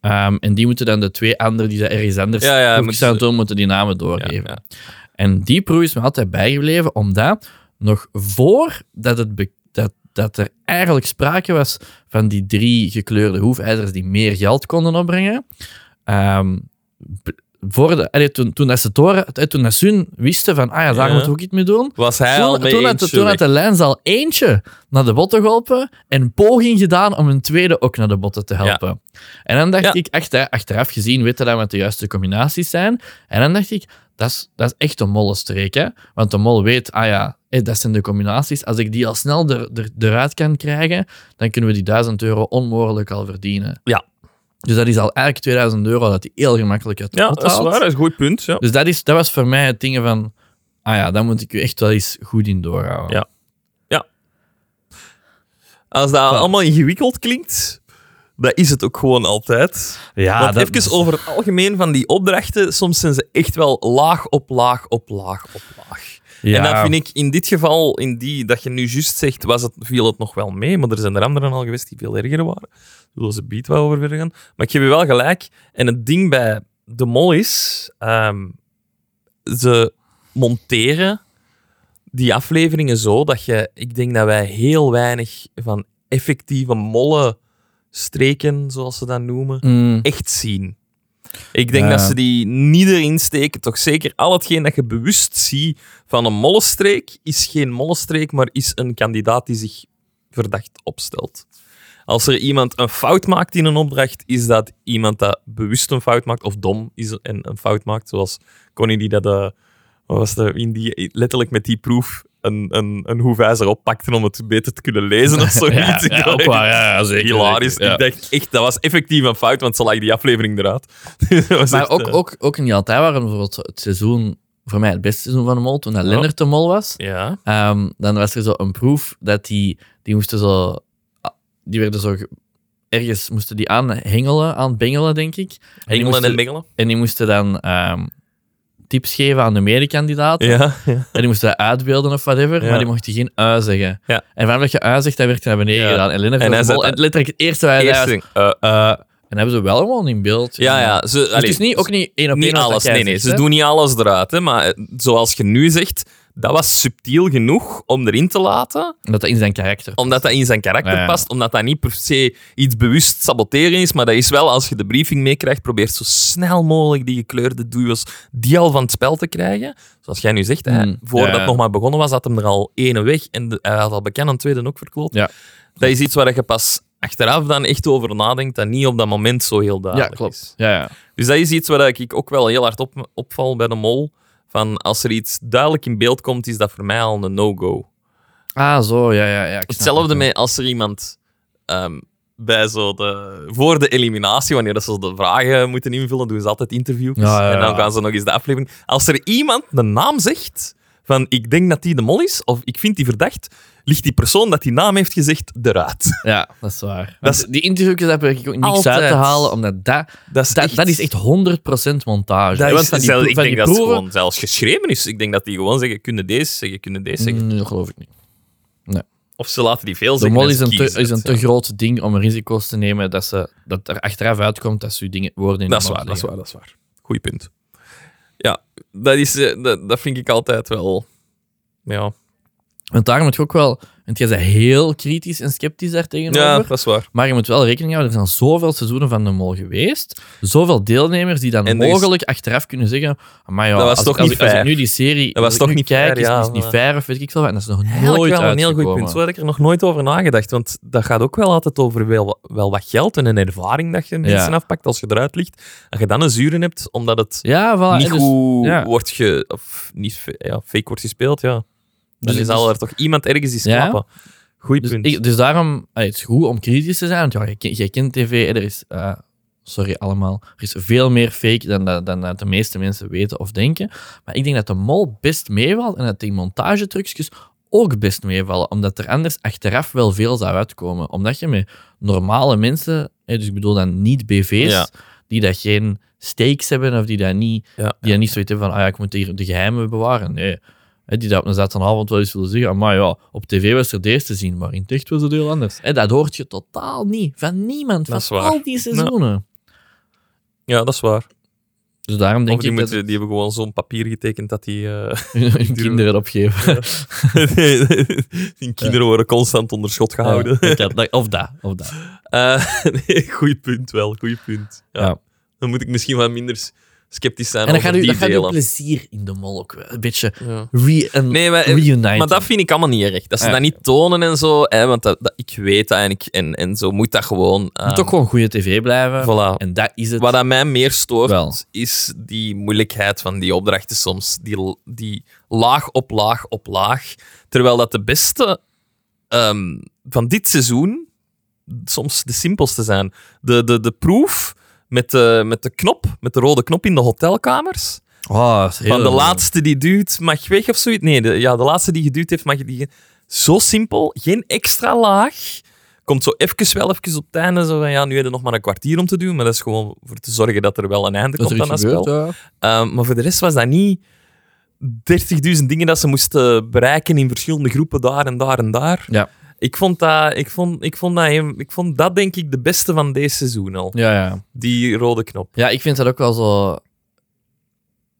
Speaker 1: Ehm, en die moeten dan de twee anderen die daar ergens anders
Speaker 2: Ja, ja,
Speaker 1: hoekjes
Speaker 2: moeten
Speaker 1: aan
Speaker 2: ze-
Speaker 1: het doen, moeten die namen doorgeven.
Speaker 2: ja.
Speaker 1: En die proef is me altijd bijgebleven, omdat nog voordat het be- dat, dat er eigenlijk sprake was van die drie gekleurde hoefijzers die meer geld konden opbrengen, ehm, b- voor de, allee, toen, toen dat ze toren, toen dat ze hun wisten van, ah ja, daar
Speaker 2: Ja.
Speaker 1: moeten we ook iets mee doen.
Speaker 2: Was hij al
Speaker 1: Toen,
Speaker 2: mee
Speaker 1: toen, had, de-
Speaker 2: eentje
Speaker 1: toen had
Speaker 2: weg?
Speaker 1: de lens al eentje naar de botten geholpen en een poging gedaan om een tweede ook naar de botten te helpen. En dan dacht
Speaker 2: Ja.
Speaker 1: ik, achter, achteraf gezien, weten dat wat de juiste combinaties zijn. En dan dacht ik, dat is, dat is echt een mollenstreek, hè? Want de mol weet, ah ja, hé, dat zijn de combinaties. Als ik die al snel er, er, eruit kan krijgen, dan kunnen we die 1000 euro onmogelijk al verdienen.
Speaker 2: Ja.
Speaker 1: Dus dat is al eigenlijk 2000 euro dat hij heel gemakkelijk uit de
Speaker 2: Ja,
Speaker 1: pot
Speaker 2: dat is
Speaker 1: haalt.
Speaker 2: waar. Dat is een goed punt. Ja.
Speaker 1: Dus dat, is, dat was voor mij het ding van... Ah ja, daar moet ik u echt wel eens goed in doorhouden.
Speaker 2: Ja. Als dat allemaal ingewikkeld klinkt, dat is het ook gewoon altijd.
Speaker 1: ja
Speaker 2: Want even over het algemeen van die opdrachten, soms zijn ze echt wel laag op laag op laag op laag.
Speaker 1: Ja.
Speaker 2: En dan vind ik in dit geval, in die dat je nu juist zegt, was het, viel het nog wel mee. Maar er zijn er anderen al geweest die veel erger waren. Zullen ze beat wel over verder gaan. Maar ik geef je wel gelijk. En het ding bij de mol is, ehm, ze monteren die afleveringen zo dat je, ik denk dat wij heel weinig van effectieve mollen streken, zoals ze dat noemen,
Speaker 1: Mm,
Speaker 2: echt zien. Ik denk
Speaker 1: Ja.
Speaker 2: dat ze die niet erin steken. Toch zeker al hetgeen dat je bewust ziet van een mollenstreek, is geen mollenstreek, maar is een kandidaat die zich verdacht opstelt. Als er iemand een fout maakt in een opdracht, is dat iemand dat bewust een fout maakt, of dom is en een fout maakt. Zoals Connie die dat... eh, wat was dat, in die, letterlijk met die proef een, een, een hoefijzer oppakte om het beter te kunnen lezen of zoiets.
Speaker 1: ja,
Speaker 2: Ik
Speaker 1: ja,
Speaker 2: dacht,
Speaker 1: ook waar, ja, ja, zeker.
Speaker 2: Hilarisch.
Speaker 1: zeker, ja.
Speaker 2: Ik dacht echt, dat was effectief een fout, want ze lag die aflevering eruit. Dat was
Speaker 1: Maar
Speaker 2: echt,
Speaker 1: ook,
Speaker 2: eh,
Speaker 1: ook, ook niet altijd waren bijvoorbeeld het seizoen... Voor mij het beste seizoen van de mol, toen dat
Speaker 2: Ja.
Speaker 1: Lennart de mol was.
Speaker 2: Ja.
Speaker 1: Ehm, dan was er zo een proef dat die... Die moesten zo... ah, Die werden zo... ge- Ergens moesten die aan hengelen, aan bengelen, denk ik. En die
Speaker 2: Engelen
Speaker 1: moesten,
Speaker 2: en Mengelen.
Speaker 1: en die moesten dan ehm, tips geven aan de medekandidaat.
Speaker 2: Ja, ja.
Speaker 1: En die moesten dat uitbeelden of whatever,
Speaker 2: Ja.
Speaker 1: maar die mochten geen ui zeggen.
Speaker 2: Ja.
Speaker 1: En vanaf dat je ui zegt, dat werd naar beneden
Speaker 2: Ja.
Speaker 1: gedaan. En Lennart
Speaker 2: En
Speaker 1: was
Speaker 2: hij
Speaker 1: de mol.
Speaker 2: zei
Speaker 1: En
Speaker 2: dat-
Speaker 1: letterlijk het eerste wij
Speaker 2: Eerste
Speaker 1: zeiden
Speaker 2: ding. eh,
Speaker 1: was, eh, En hebben ze wel gewoon in beeld.
Speaker 2: ja, ja. Ze,
Speaker 1: Dus
Speaker 2: allee,
Speaker 1: het is niet, ook niet één op één.
Speaker 2: niet
Speaker 1: wat
Speaker 2: alles.
Speaker 1: jij
Speaker 2: Nee, nee.
Speaker 1: zegt,
Speaker 2: Ze
Speaker 1: hè.
Speaker 2: doen niet alles eruit. Hè, maar eh, zoals je nu zegt, dat was subtiel genoeg om erin te laten.
Speaker 1: Omdat dat in zijn karakter.
Speaker 2: Omdat dat in zijn karakter
Speaker 1: Ja, ja.
Speaker 2: past. Omdat dat niet per se iets bewust saboteren is. Maar dat is wel, als je de briefing meekrijgt, probeer zo snel mogelijk die gekleurde duo's die al van het spel te krijgen. Zoals jij nu zegt, hè,
Speaker 1: Mm,
Speaker 2: voordat
Speaker 1: ja, ja.
Speaker 2: het nog maar begonnen was, had hem er al ene weg. En de- hij had al bekend een tweede ook verkloot.
Speaker 1: Ja.
Speaker 2: Dat is iets waar je pas achteraf dan echt over nadenkt. Dat niet op dat moment zo heel
Speaker 1: Ja,
Speaker 2: duidelijk is.
Speaker 1: klopt. Ja, ja.
Speaker 2: Dus dat is iets waar ik ook wel heel hard op, opval bij de mol. Van als er iets duidelijk in beeld komt, is dat voor mij al een no-go.
Speaker 1: Ah, zo, ja, ja. ja ik snap
Speaker 2: Hetzelfde
Speaker 1: het.
Speaker 2: met als er iemand ehm, bij zo de, voor de eliminatie, wanneer dat ze de vragen moeten invullen, doen ze altijd interviews.
Speaker 1: Ja, ja, ja.
Speaker 2: En dan gaan ze nog eens de aflevering. Als er iemand de naam zegt van ik denk dat die de mol is, of ik vind die verdacht, ligt die persoon dat die naam heeft gezegd eruit.
Speaker 1: Ja, dat is waar.
Speaker 2: Dat
Speaker 1: Dat
Speaker 2: is-
Speaker 1: die interviewjes heb ik ook niks
Speaker 2: Altijd.
Speaker 1: uit te halen, omdat dat,
Speaker 2: Dat is
Speaker 1: dat,
Speaker 2: echt-
Speaker 1: dat is echt 100% montage.
Speaker 2: Dat
Speaker 1: hè, want
Speaker 2: is,
Speaker 1: van die,
Speaker 2: zelfs-
Speaker 1: pro-
Speaker 2: ik
Speaker 1: van die
Speaker 2: denk dat het
Speaker 1: proeven-
Speaker 2: gewoon zelfs geschreven is. Ik denk dat die gewoon zeggen, kunnen deze zeggen, kunnen deze zeggen.
Speaker 1: Mm, dat geloof ik niet.
Speaker 2: Of ze laten die veel
Speaker 1: De
Speaker 2: zeggen.
Speaker 1: mol
Speaker 2: en
Speaker 1: is
Speaker 2: ze
Speaker 1: een, te,
Speaker 2: kiezen
Speaker 1: is een
Speaker 2: het,
Speaker 1: te
Speaker 2: ja.
Speaker 1: groot ding om risico's te nemen dat, ze, dat er achteraf uitkomt dat ze je dingen, woorden in de
Speaker 2: Dat is
Speaker 1: mond
Speaker 2: waar, dat is
Speaker 1: leggen.
Speaker 2: waar, dat is waar. Goeie punt. Ja, dat, is, eh, dat, dat vind ik altijd wel... Ja,
Speaker 1: Want daar moet je ook wel... Want jij bent heel kritisch en sceptisch daar tegenover.
Speaker 2: ja dat is waar.
Speaker 1: Maar je moet wel rekening houden, er zijn zoveel seizoenen van de mol geweest. Zoveel deelnemers die dan
Speaker 2: En er is-
Speaker 1: mogelijk achteraf kunnen zeggen... Maar ja,
Speaker 2: Dat was
Speaker 1: als,
Speaker 2: toch
Speaker 1: ik- als,
Speaker 2: niet
Speaker 1: ik- als ik
Speaker 2: fair.
Speaker 1: nu die serie
Speaker 2: Dat was
Speaker 1: als ik
Speaker 2: toch
Speaker 1: nu
Speaker 2: niet
Speaker 1: kijk,
Speaker 2: fair,
Speaker 1: is,
Speaker 2: ja,
Speaker 1: is niet
Speaker 2: maar-
Speaker 1: fair of weet ik veel wat. En dat is nog
Speaker 2: Eigenlijk
Speaker 1: nooit
Speaker 2: wel een heel goed
Speaker 1: uitgekomen.
Speaker 2: punt. Zo had ik er nog nooit over nagedacht. Want dat gaat ook wel altijd over wel, wel wat geld en een ervaring dat je mensen afpakt als je eruit ligt. Als je dan een zuren hebt, omdat het
Speaker 1: Ja, voilà.
Speaker 2: niet
Speaker 1: en dus-
Speaker 2: goed
Speaker 1: ja.
Speaker 2: wordt ge... Of niet fe- ja, fake wordt gespeeld, ja. Dan
Speaker 1: Dus-
Speaker 2: is al er toch iemand ergens die
Speaker 1: Ja.
Speaker 2: slapen. Goeie
Speaker 1: Dus,
Speaker 2: punt.
Speaker 1: ik- dus daarom, allee, het is goed om kritisch te zijn, want ja, jij, ken- jij kent tv, hè, er is, eh, sorry allemaal, er is veel meer fake dan, dat- dan, dat de meeste mensen weten of denken. Maar ik denk dat de mol best meevalt en dat die montagetrucjes ook best meevallen, omdat er anders achteraf wel veel zou uitkomen. Omdat je met normale mensen, hè, dus ik bedoel dan niet BV's,
Speaker 2: Ja.
Speaker 1: die dat geen stakes hebben of die dat niet,
Speaker 2: Ja.
Speaker 1: die dat niet zoiets hebben van, ah ja, ik moet hier de geheimen bewaren. Nee. Hè, die dat op een zaterdagavond wel eens willen zeggen, maar ja, op tv was er deze te zien, maar in het echt was het heel anders. Hè, dat hoort je totaal niet, van niemand,
Speaker 2: Dat is
Speaker 1: van
Speaker 2: waar.
Speaker 1: al die seizoenen.
Speaker 2: Ja, dat is waar.
Speaker 1: Dus daarom
Speaker 2: Of
Speaker 1: denk
Speaker 2: die,
Speaker 1: ik dat
Speaker 2: moeten, die hebben gewoon zo'n papier getekend dat die... eh,
Speaker 1: hun kinderen opgeven.
Speaker 2: die kinderen worden constant onder schot gehouden.
Speaker 1: Ja, dat- dat- of dat, of dat.
Speaker 2: Eh, nee, goeie punt wel, goeie punt. Ja.
Speaker 1: Ja.
Speaker 2: Dan moet ik misschien wat minder s- sceptisch zijn
Speaker 1: En dan
Speaker 2: over
Speaker 1: gaat u,
Speaker 2: die
Speaker 1: dan gaat u
Speaker 2: delen.
Speaker 1: plezier in de mol ook wel een beetje
Speaker 2: Ja.
Speaker 1: re en
Speaker 2: Nee, maar, eh,
Speaker 1: reuniten.
Speaker 2: maar dat vind ik allemaal niet erg. Dat ze
Speaker 1: Ja.
Speaker 2: dat niet tonen en zo. Hè, want dat, dat- ik weet dat en, ik, en, en zo moet dat gewoon.
Speaker 1: Het moet
Speaker 2: ehm,
Speaker 1: toch gewoon goede tv blijven.
Speaker 2: Voilà.
Speaker 1: En dat is het.
Speaker 2: Wat aan mij meer stoort,
Speaker 1: Wel.
Speaker 2: is die moeilijkheid van die opdrachten soms. Die, die laag op laag op laag. Terwijl dat de beste ehm, van dit seizoen soms de simpelste zijn. De, de, de proef met de, met de knop, met de rode knop in de hotelkamers.
Speaker 1: Oh, dat is heel
Speaker 2: Van de
Speaker 1: mooi.
Speaker 2: laatste die duwt mag weg of zoiets. Nee, de, ja, de laatste die geduwd heeft mag die... Zo simpel, geen extra laag. Komt zo even wel even op het einde. Zo van, ja, nu heb je nog maar een kwartier om te doen. Maar dat is gewoon voor te zorgen dat er wel een einde
Speaker 1: Dat er
Speaker 2: komt aan dat
Speaker 1: iets gebeurt,
Speaker 2: spel.
Speaker 1: ja.
Speaker 2: Ehm, maar voor de rest was dat niet 30.000 dingen dat ze moesten bereiken in verschillende groepen, daar en daar en daar.
Speaker 1: Ja.
Speaker 2: Ik vond, dat, ik, vond, ik, vond dat, een- ik vond dat denk ik de beste van deze seizoen al.
Speaker 1: Ja, ja.
Speaker 2: Die rode knop.
Speaker 1: Ja, ik vind dat ook wel zo.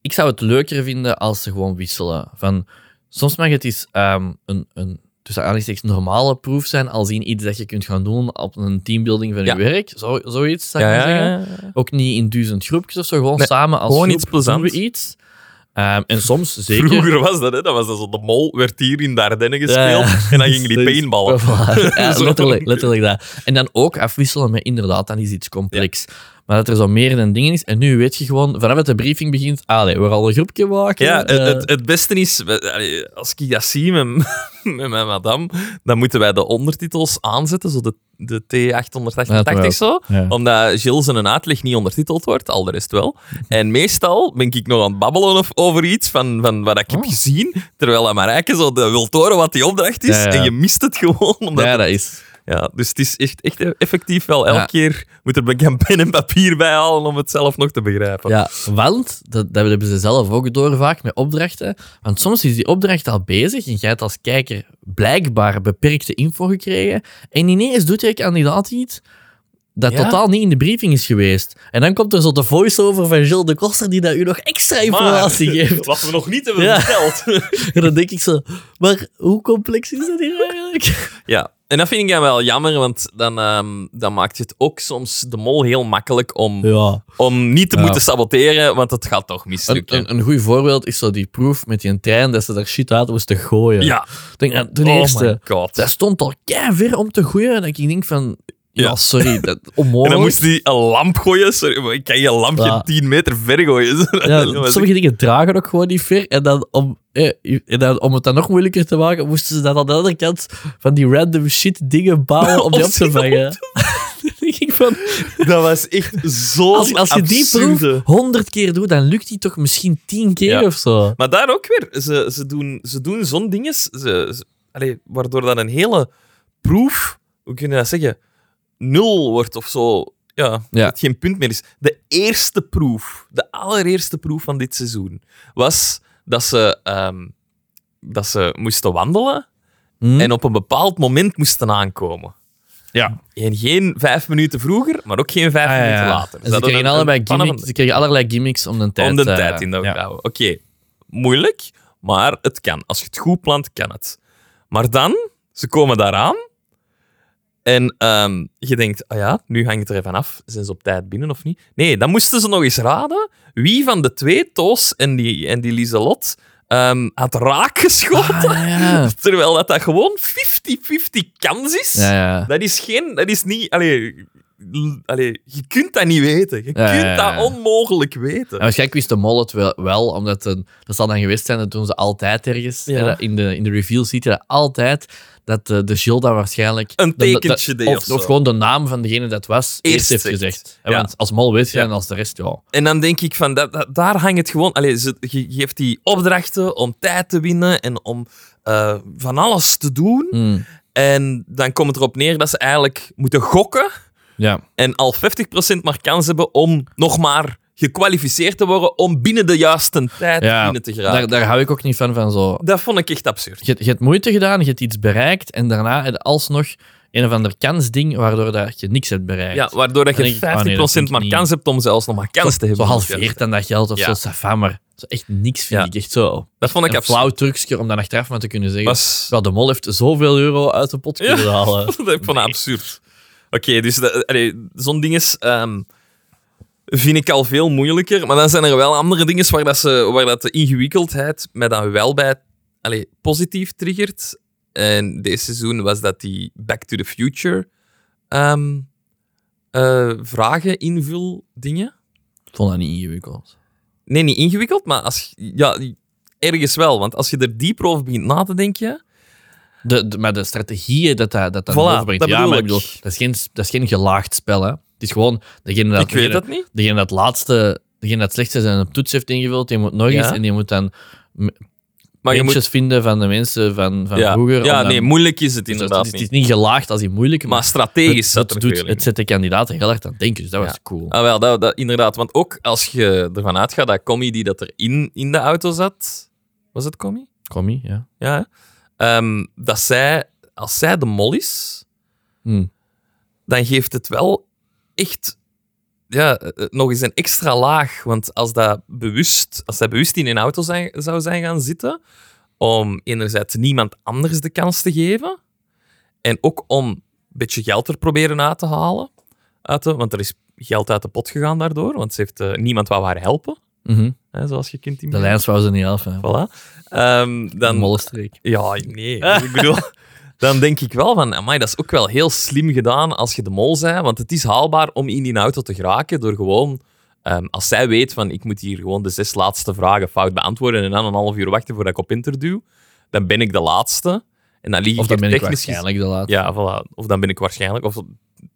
Speaker 1: Ik zou het leuker vinden als ze gewoon wisselen. Van, soms mag het eens ehm, een, een tussen aanhalingstekens normale proef zijn, als in iets dat je kunt gaan doen op een teambuilding van
Speaker 2: Ja.
Speaker 1: je werk. Zo, zoiets, zou ik
Speaker 2: Ja,
Speaker 1: maar
Speaker 2: ja,
Speaker 1: zeggen.
Speaker 2: ja, ja.
Speaker 1: Ook niet in duizend groepjes of zo, gewoon
Speaker 2: Nee,
Speaker 1: samen als
Speaker 2: gewoon
Speaker 1: groep
Speaker 2: iets plezants.
Speaker 1: doen we iets. Ehm, en soms zeker...
Speaker 2: Vroeger was dat, hè? Dat was dat zo, de mol werd hier in Dardenne
Speaker 1: Ja, ja.
Speaker 2: gespeeld en dan ging die paintballen.
Speaker 1: Voilà. Ja,
Speaker 2: Zo.
Speaker 1: letterlijk, letterlijk dat. En dan ook afwisselen met inderdaad, dan is iets complex. Maar dat er zo meer dan dingen is. En nu weet je gewoon, vanaf het de briefing begint, allee, we gaan al een groepje maken.
Speaker 2: Ja,
Speaker 1: eh,
Speaker 2: het, het, het beste is, we- allee, als ik dat zie met, met mijn madame, dan moeten wij de ondertitels aanzetten, zo de, de
Speaker 1: Ja, dat
Speaker 2: T888
Speaker 1: wel.
Speaker 2: zo.
Speaker 1: Eh, ja.
Speaker 2: Omdat Gilles zijn uitleg niet ondertiteld wordt, al de rest wel. En meestal ben ik nog aan het babbelen of, over iets van, van wat ik heb
Speaker 1: Oh.
Speaker 2: gezien, terwijl aan Marijke zo de, wil horen wat die opdracht is,
Speaker 1: Ja, ja.
Speaker 2: en je mist het gewoon. Omdat
Speaker 1: ja, dat is.
Speaker 2: Ja, dus het is echt, echt effectief wel. Elke
Speaker 1: Ja.
Speaker 2: keer moet er een pen en papier bij halen om het zelf nog te begrijpen.
Speaker 1: Ja, want, dat, dat hebben ze zelf ook door vaak met opdrachten. Want soms is die opdracht al bezig en jij hebt als kijker blijkbaar beperkte info gekregen. En ineens doet je kandidaat iets dat
Speaker 2: Ja.
Speaker 1: totaal niet in de briefing is geweest. En dan komt er zo de voice-over van Gilles de Koster die dat u nog extra informatie geeft.
Speaker 2: Wat we nog niet hebben
Speaker 1: Ja.
Speaker 2: verteld.
Speaker 1: En dan denk ik zo, maar hoe complex is dat hier eigenlijk?
Speaker 2: Ja, en dat vind ik dan wel jammer, want dan, ehm, dan maakt het ook soms de mol heel makkelijk om,
Speaker 1: Ja.
Speaker 2: om niet te
Speaker 1: Ja.
Speaker 2: moeten saboteren, want het gaat toch
Speaker 1: Een,
Speaker 2: mislukken.
Speaker 1: een, een goed voorbeeld is zo die proef met die trein dat ze daar shit uit moesten gooien.
Speaker 2: ja,
Speaker 1: Ik Denk, nou, ten
Speaker 2: oh
Speaker 1: eerste,
Speaker 2: my god.
Speaker 1: dat stond al ver om te gooien. En ik denk van, ja,
Speaker 2: Ja.
Speaker 1: sorry, dat,
Speaker 2: en
Speaker 1: onmogelijk.
Speaker 2: dan moest hij een lamp gooien. Sorry, maar ik kan je lamp
Speaker 1: Ja.
Speaker 2: geen 10 meter ver gooien.
Speaker 1: ja,
Speaker 2: Dat was echt-
Speaker 1: sommige dingen dragen ook gewoon niet ver. En dan, om, eh, en dan, om het dan nog moeilijker te maken, moesten ze dan aan de andere kant van die random shit dingen bouwen om die
Speaker 2: Om
Speaker 1: op te
Speaker 2: die op
Speaker 1: vangen. Dan denk ik van,
Speaker 2: dat was echt zo
Speaker 1: als, als je die proef
Speaker 2: absurde.
Speaker 1: honderd keer doet, dan lukt die toch misschien tien keer
Speaker 2: Ja.
Speaker 1: of zo.
Speaker 2: Maar daar ook weer, ze, ze, doen, ze doen zo'n dinges, ze, ze- allee, waardoor dat een hele proef, hoe kun je dat zeggen, nul wordt of zo. Ja, dat het geen punt meer is. De eerste proef, de allereerste proef van dit seizoen, was dat ze, ehm, dat ze moesten wandelen
Speaker 1: Hm?
Speaker 2: en op een bepaald moment moesten aankomen.
Speaker 1: Ja.
Speaker 2: En geen vijf minuten vroeger, maar ook geen vijf
Speaker 1: Ah, ja, ja.
Speaker 2: minuten later.
Speaker 1: En ze
Speaker 2: hadden
Speaker 1: kregen,
Speaker 2: een-
Speaker 1: allebei
Speaker 2: een pannen van-
Speaker 1: gimmicks, ze kregen allerlei gimmicks om de tijd,
Speaker 2: om de
Speaker 1: eh,
Speaker 2: tijd in de
Speaker 1: ja.
Speaker 2: houden. Oké, moeilijk, maar het kan. Als je het goed plant, kan het. Maar dan, ze komen daaraan en ehm, je denkt, ah ja, nu hangt het er even af. Zijn ze op tijd binnen of niet? Nee, dan moesten ze nog eens raden wie van de twee, Toos en die, en die Lieselot, ehm, had raak geschoten.
Speaker 1: Ah, ja.
Speaker 2: Terwijl dat, dat gewoon 50-50 kans is.
Speaker 1: Ja, ja.
Speaker 2: Dat is geen, dat is niet, allee, l- allee, je kunt dat niet weten. Je
Speaker 1: Ja, ja,
Speaker 2: kunt
Speaker 1: ja, ja.
Speaker 2: dat onmogelijk weten.
Speaker 1: En waarschijnlijk wist de mol het wel, wel, omdat een, dat zal dan geweest zijn, dat doen ze altijd ergens.
Speaker 2: Ja.
Speaker 1: Eh, dat In, de, in de reveal ziet je dat altijd, dat eh, de, de Gilles dan waarschijnlijk...
Speaker 2: Een
Speaker 1: de- de-
Speaker 2: tekentje deed
Speaker 1: of,
Speaker 2: of zo.
Speaker 1: of gewoon de naam van degene dat was, eerst,
Speaker 2: Eerst
Speaker 1: heeft
Speaker 2: zegt.
Speaker 1: gezegd. Eh,
Speaker 2: Ja.
Speaker 1: Want als mol weet je,
Speaker 2: Ja.
Speaker 1: en als de rest, ja.
Speaker 2: En dan denk ik van, dat, dat- daar hangt het gewoon... Allee, ze, je geeft die opdrachten om tijd te winnen en om eh, van alles te doen.
Speaker 1: Mm,
Speaker 2: En dan komt het erop neer dat ze eigenlijk moeten gokken
Speaker 1: ja.
Speaker 2: en al 50% maar kans hebben om nog maar gekwalificeerd te worden om binnen de juiste tijd
Speaker 1: Ja,
Speaker 2: binnen te geraken.
Speaker 1: Daar, daar hou ik ook niet van, van zo...
Speaker 2: Dat vond ik echt absurd.
Speaker 1: Je, je hebt moeite gedaan, je hebt iets bereikt, en daarna heb je alsnog een of ander kansding, waardoor dat je niks hebt bereikt.
Speaker 2: Ja, waardoor dat
Speaker 1: Dan
Speaker 2: je
Speaker 1: denk ik, ah, nee, dat
Speaker 2: 50%
Speaker 1: vind ik
Speaker 2: maar
Speaker 1: niet.
Speaker 2: kans hebt om zelfs nog maar kans te hebben.
Speaker 1: Zo halveert dan dat geld of
Speaker 2: Ja.
Speaker 1: zo, safa, maar zo echt niks vind
Speaker 2: Ja.
Speaker 1: ik echt zo.
Speaker 2: Dat vond ik
Speaker 1: een
Speaker 2: absurd.
Speaker 1: flauw trucje om dan achteraf maar te kunnen zeggen.
Speaker 2: Was-
Speaker 1: "Wel, de mol heeft zoveel euro uit de pot kunnen
Speaker 2: Ja.
Speaker 1: halen.
Speaker 2: dat heb ik van absurd. Oké, dus dat- allee, zo'n ding is. ehm, vind ik al veel moeilijker. Maar dan zijn er wel andere dingen waar, dat ze, waar dat de ingewikkeldheid mij dan wel bij allee, positief triggert. En dit seizoen was dat die Back to the Future ehm, eh, vragen invul dingen.
Speaker 1: Ik vond dat niet ingewikkeld.
Speaker 2: Nee, niet ingewikkeld, maar als, je- ja, ergens wel. Want als je er dieper over begint na te denken,
Speaker 1: De, de- maar de strategieën dat dat, dat, dat
Speaker 2: Voilà,
Speaker 1: overbrengt.
Speaker 2: dat
Speaker 1: ja,
Speaker 2: bedoel
Speaker 1: maar
Speaker 2: ik.
Speaker 1: dat, is geen, dat is geen gelaagd spel. Hè. Het is gewoon degene dat,
Speaker 2: ik weet
Speaker 1: degene,
Speaker 2: dat niet.
Speaker 1: degene dat laatste, degene dat het slechtste zijn op toets heeft ingevuld, die moet nog
Speaker 2: Ja.
Speaker 1: eens en die moet dan
Speaker 2: Maar je
Speaker 1: mensen
Speaker 2: moet,
Speaker 1: vinden van de mensen van, van
Speaker 2: ja,
Speaker 1: vroeger. eh, om
Speaker 2: ja
Speaker 1: dan-
Speaker 2: nee, moeilijk is het
Speaker 1: dus
Speaker 2: inderdaad
Speaker 1: het, is, het
Speaker 2: niet.
Speaker 1: is niet gelaagd als in moeilijk,
Speaker 2: Maar
Speaker 1: maar het,
Speaker 2: strategisch zat er
Speaker 1: het, doet,
Speaker 2: veel in.
Speaker 1: het zet de kandidaten heel erg aan het denken, dus dat
Speaker 2: Ja.
Speaker 1: was cool.
Speaker 2: Ah, wel, dat, dat, inderdaad. Want ook als je ervan uitgaat dat comedy dat er in, in de auto zat... Was het comedy?
Speaker 1: Commie, ja.
Speaker 2: Ja. hè? Ehm, dat zij... Als zij de mol is,
Speaker 1: Hm.
Speaker 2: dan geeft het wel echt... Ja, eh, eh, nog eens een extra laag. Want als, dat bewust, als zij bewust in een auto zijn, zou zijn gaan zitten, om enerzijds niemand anders de kans te geven, en ook om een beetje geld er proberen uit te halen. Uit de- want er is geld uit de pot gegaan daardoor, want ze heeft, eh, niemand wou haar helpen,
Speaker 1: Mhm.
Speaker 2: hè, zoals je kunt
Speaker 1: De
Speaker 2: inbeelden.
Speaker 1: lijns wou ze niet af. Hè.
Speaker 2: Voilà. Ehm, dan,
Speaker 1: Mollenstreek.
Speaker 2: ja, nee. ik bedoel, dan denk ik wel van, amai, dat is ook wel heel slim gedaan als je de mol bent. Want het is haalbaar om in die auto te geraken door gewoon... ehm, als zij weet van, ik moet hier gewoon de zes laatste vragen fout beantwoorden en dan een half uur wachten voordat ik op inter duw, dan ben ik de laatste. En dan lieg
Speaker 1: Of
Speaker 2: ik
Speaker 1: dat
Speaker 2: er
Speaker 1: ben ik
Speaker 2: technisch gezien-
Speaker 1: waarschijnlijk de laatste.
Speaker 2: ja, voilà. Of dan ben ik waarschijnlijk. Of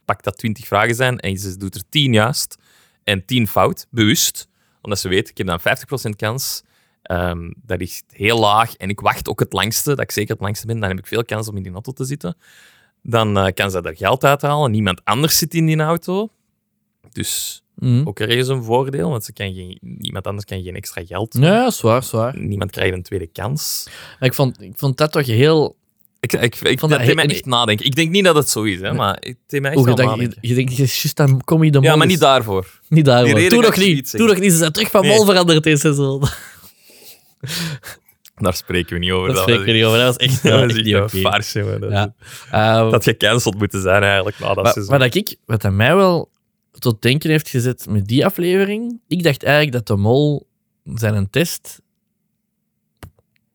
Speaker 2: pak dat 20 vragen zijn en ze doet er 10 juist en 10 fout, bewust. Omdat ze weet, ik heb dan 50% kans. Ehm, dat is heel laag en ik wacht ook het langste, dat ik zeker het langste ben. Dan heb ik veel kans om in die auto te zitten. Dan eh, kan ze daar geld uithalen. Niemand anders zit in die auto. Dus
Speaker 1: Mhm.
Speaker 2: ook er is een voordeel, want ze kan geen, niemand anders kan geen extra geld.
Speaker 1: Ja, zwaar, zwaar.
Speaker 2: Niemand krijgt een tweede kans.
Speaker 1: Maar ik vond, ik vond dat toch heel
Speaker 2: Ik, ik, ik,
Speaker 1: Van dat
Speaker 2: dat deed
Speaker 1: he-
Speaker 2: mij echt nadenken. Ik denk niet dat het zo is, hè, maar het deed mij echt
Speaker 1: Hoe
Speaker 2: wel
Speaker 1: je, denkt-
Speaker 2: nadenken.
Speaker 1: je, je denkt, juist dan kom je de mol.
Speaker 2: Ja, maar
Speaker 1: is.
Speaker 2: niet daarvoor.
Speaker 1: Niet daar,
Speaker 2: Die
Speaker 1: hoor.
Speaker 2: reden
Speaker 1: Doe
Speaker 2: ga
Speaker 1: nog
Speaker 2: ik niet
Speaker 1: niet.
Speaker 2: zeggen.
Speaker 1: Doe nog niet. Ze zijn terug van
Speaker 2: Nee.
Speaker 1: mol veranderd deze seizoen.
Speaker 2: Daar spreken we niet over.
Speaker 1: Dat spreek ik
Speaker 2: was-
Speaker 1: er niet over. Dat was echt, dat was
Speaker 2: Dat
Speaker 1: echt
Speaker 2: is echt
Speaker 1: niet
Speaker 2: een
Speaker 1: oké.
Speaker 2: farce, jongen. Dat,
Speaker 1: Ja.
Speaker 2: dat
Speaker 1: Ehm,
Speaker 2: had gecanceld moeten zijn eigenlijk na dat
Speaker 1: maar,
Speaker 2: seizoen.
Speaker 1: maar dat ik, wat dat mij wel tot denken heeft gezet met die aflevering, ik dacht eigenlijk dat de mol zijn een test...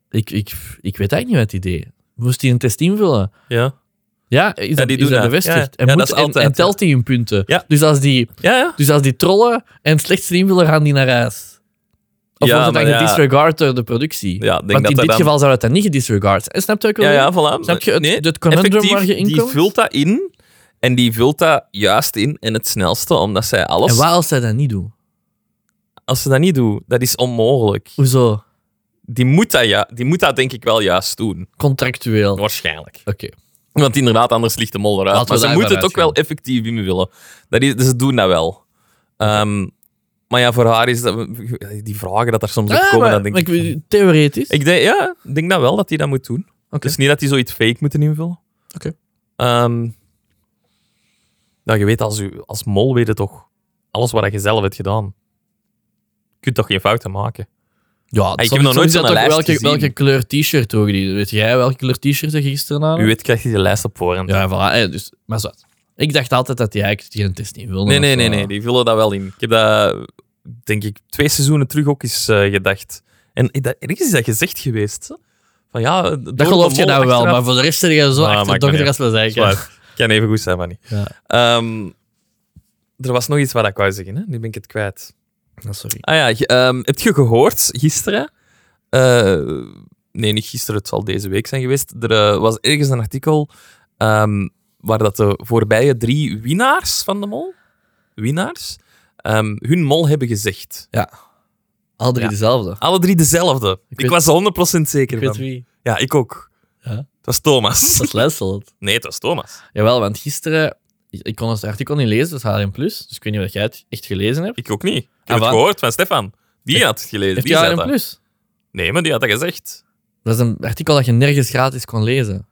Speaker 1: Ik, ik, ik weet eigenlijk niet wat het idee. Moest hij een test invullen?
Speaker 2: ja.
Speaker 1: Ja, is dat,
Speaker 2: die
Speaker 1: is
Speaker 2: doen
Speaker 1: dat
Speaker 2: dat.
Speaker 1: bevestigd?
Speaker 2: Ja, ja.
Speaker 1: En,
Speaker 2: Ja,
Speaker 1: moet-
Speaker 2: dat is
Speaker 1: en-
Speaker 2: altijd,
Speaker 1: en
Speaker 2: ja.
Speaker 1: telt hij hun punten?
Speaker 2: Ja.
Speaker 1: Dus, als die,
Speaker 2: Ja, ja.
Speaker 1: dus als die trollen en het slechtste invullen, gaan die naar huis. Of
Speaker 2: Ja,
Speaker 1: wordt het
Speaker 2: maar
Speaker 1: dan
Speaker 2: ja.
Speaker 1: gedisregard door de productie?
Speaker 2: Ja, ik denk
Speaker 1: Want
Speaker 2: dat
Speaker 1: in
Speaker 2: dat
Speaker 1: dit
Speaker 2: dan-
Speaker 1: geval zou dat dan niet gedisregard zijn. Snap je ook wel?
Speaker 2: Ja, ja, voilà.
Speaker 1: Snap je het,
Speaker 2: Nee,
Speaker 1: het conundrum
Speaker 2: effectief,
Speaker 1: waar je in
Speaker 2: die
Speaker 1: komt?
Speaker 2: vult dat in. En die vult dat juist in, en het snelste, omdat zij alles...
Speaker 1: En waar als zij dat niet doen?
Speaker 2: Als ze dat niet doen, dat is onmogelijk.
Speaker 1: Hoezo?
Speaker 2: Die moet dat, ja, die moet dat denk ik wel juist doen.
Speaker 1: Contractueel. Oké.
Speaker 2: Waarschijnlijk. Want inderdaad, anders ligt de mol eruit.
Speaker 1: Laten we
Speaker 2: maar ze
Speaker 1: daar
Speaker 2: moeten het
Speaker 1: maar
Speaker 2: ook wel effectief in willen. Dat is, dus ze doen dat wel. Ehm, maar ja, voor haar is dat... Die vragen dat er soms op
Speaker 1: Ah,
Speaker 2: komen,
Speaker 1: maar-
Speaker 2: dan denk
Speaker 1: maar
Speaker 2: ik... van-
Speaker 1: ik- Theoretisch?
Speaker 2: Ik denk, ja, ik denk dat wel dat hij dat moet doen.
Speaker 1: Oké.
Speaker 2: Dus niet dat hij zoiets fake moet invullen.
Speaker 1: Oké.
Speaker 2: Ehm, nou, je weet, als, u, als mol weet je toch alles wat je zelf hebt gedaan. Je kunt toch geen fouten maken?
Speaker 1: ja,
Speaker 2: heb
Speaker 1: soms-
Speaker 2: nog nooit
Speaker 1: soms
Speaker 2: zo'n
Speaker 1: is dat ook
Speaker 2: lijst
Speaker 1: welke,
Speaker 2: gezien.
Speaker 1: welke kleur t-shirt toch die? Weet jij welke kleur t-shirt je gisteren aan?
Speaker 2: U weet, krijgt hij de lijst op voorhand.
Speaker 1: Ja, voilà. hè, dus, maar zo. Ik dacht altijd dat hij eigenlijk die een test niet wilde.
Speaker 2: Nee,
Speaker 1: of
Speaker 2: nee,
Speaker 1: zo.
Speaker 2: nee, nee, die vullen dat wel in. Ik heb dat, denk ik, twee seizoenen terug ook eens eh, gedacht. En ik- dat, ergens is dat gezegd geweest. hè? Van ja, eh,
Speaker 1: Dat geloof je nou wel, maar voor de rest zit je zo
Speaker 2: Ah, maakt
Speaker 1: achterdochtig
Speaker 2: niet
Speaker 1: als we zeggen.
Speaker 2: kan even goed zijn, maar niet.
Speaker 1: Ja.
Speaker 2: Ehm, er was nog iets wat ik wou zeggen, hè? nu ben ik het kwijt.
Speaker 1: Ah, sorry.
Speaker 2: Ah ja, je- ehm, heb je gehoord gisteren? eh, nee, niet gisteren, het zal deze week zijn geweest. Er eh, was ergens een artikel ehm, waar dat de voorbije drie winnaars van de mol, winnaars, ehm, hun mol hebben gezegd.
Speaker 1: Alle drie
Speaker 2: Ja.
Speaker 1: dezelfde.
Speaker 2: Alle drie dezelfde. Ik,
Speaker 1: weet-
Speaker 2: was er 100%
Speaker 1: Ik
Speaker 2: zeker
Speaker 1: weet
Speaker 2: van.
Speaker 1: wie.
Speaker 2: Ja, ik ook.
Speaker 1: Ja.
Speaker 2: Het was Thomas.
Speaker 1: Dat is Lesselt.
Speaker 2: Nee, het was Thomas.
Speaker 1: Jawel, want gisteren... Ik kon het artikel niet lezen, dat is HLM+. Plus. Dus ik weet niet of jij het echt gelezen hebt.
Speaker 2: Ik ook niet. Ik heb
Speaker 1: Ah,
Speaker 2: het
Speaker 1: wat?
Speaker 2: gehoord van Stefan. Die had het gelezen.
Speaker 1: Heeft
Speaker 2: die
Speaker 1: je
Speaker 2: zei
Speaker 1: HLM+.
Speaker 2: dat.
Speaker 1: Plus?
Speaker 2: Nee, maar die had dat gezegd.
Speaker 1: Dat is een artikel dat je nergens gratis kon lezen.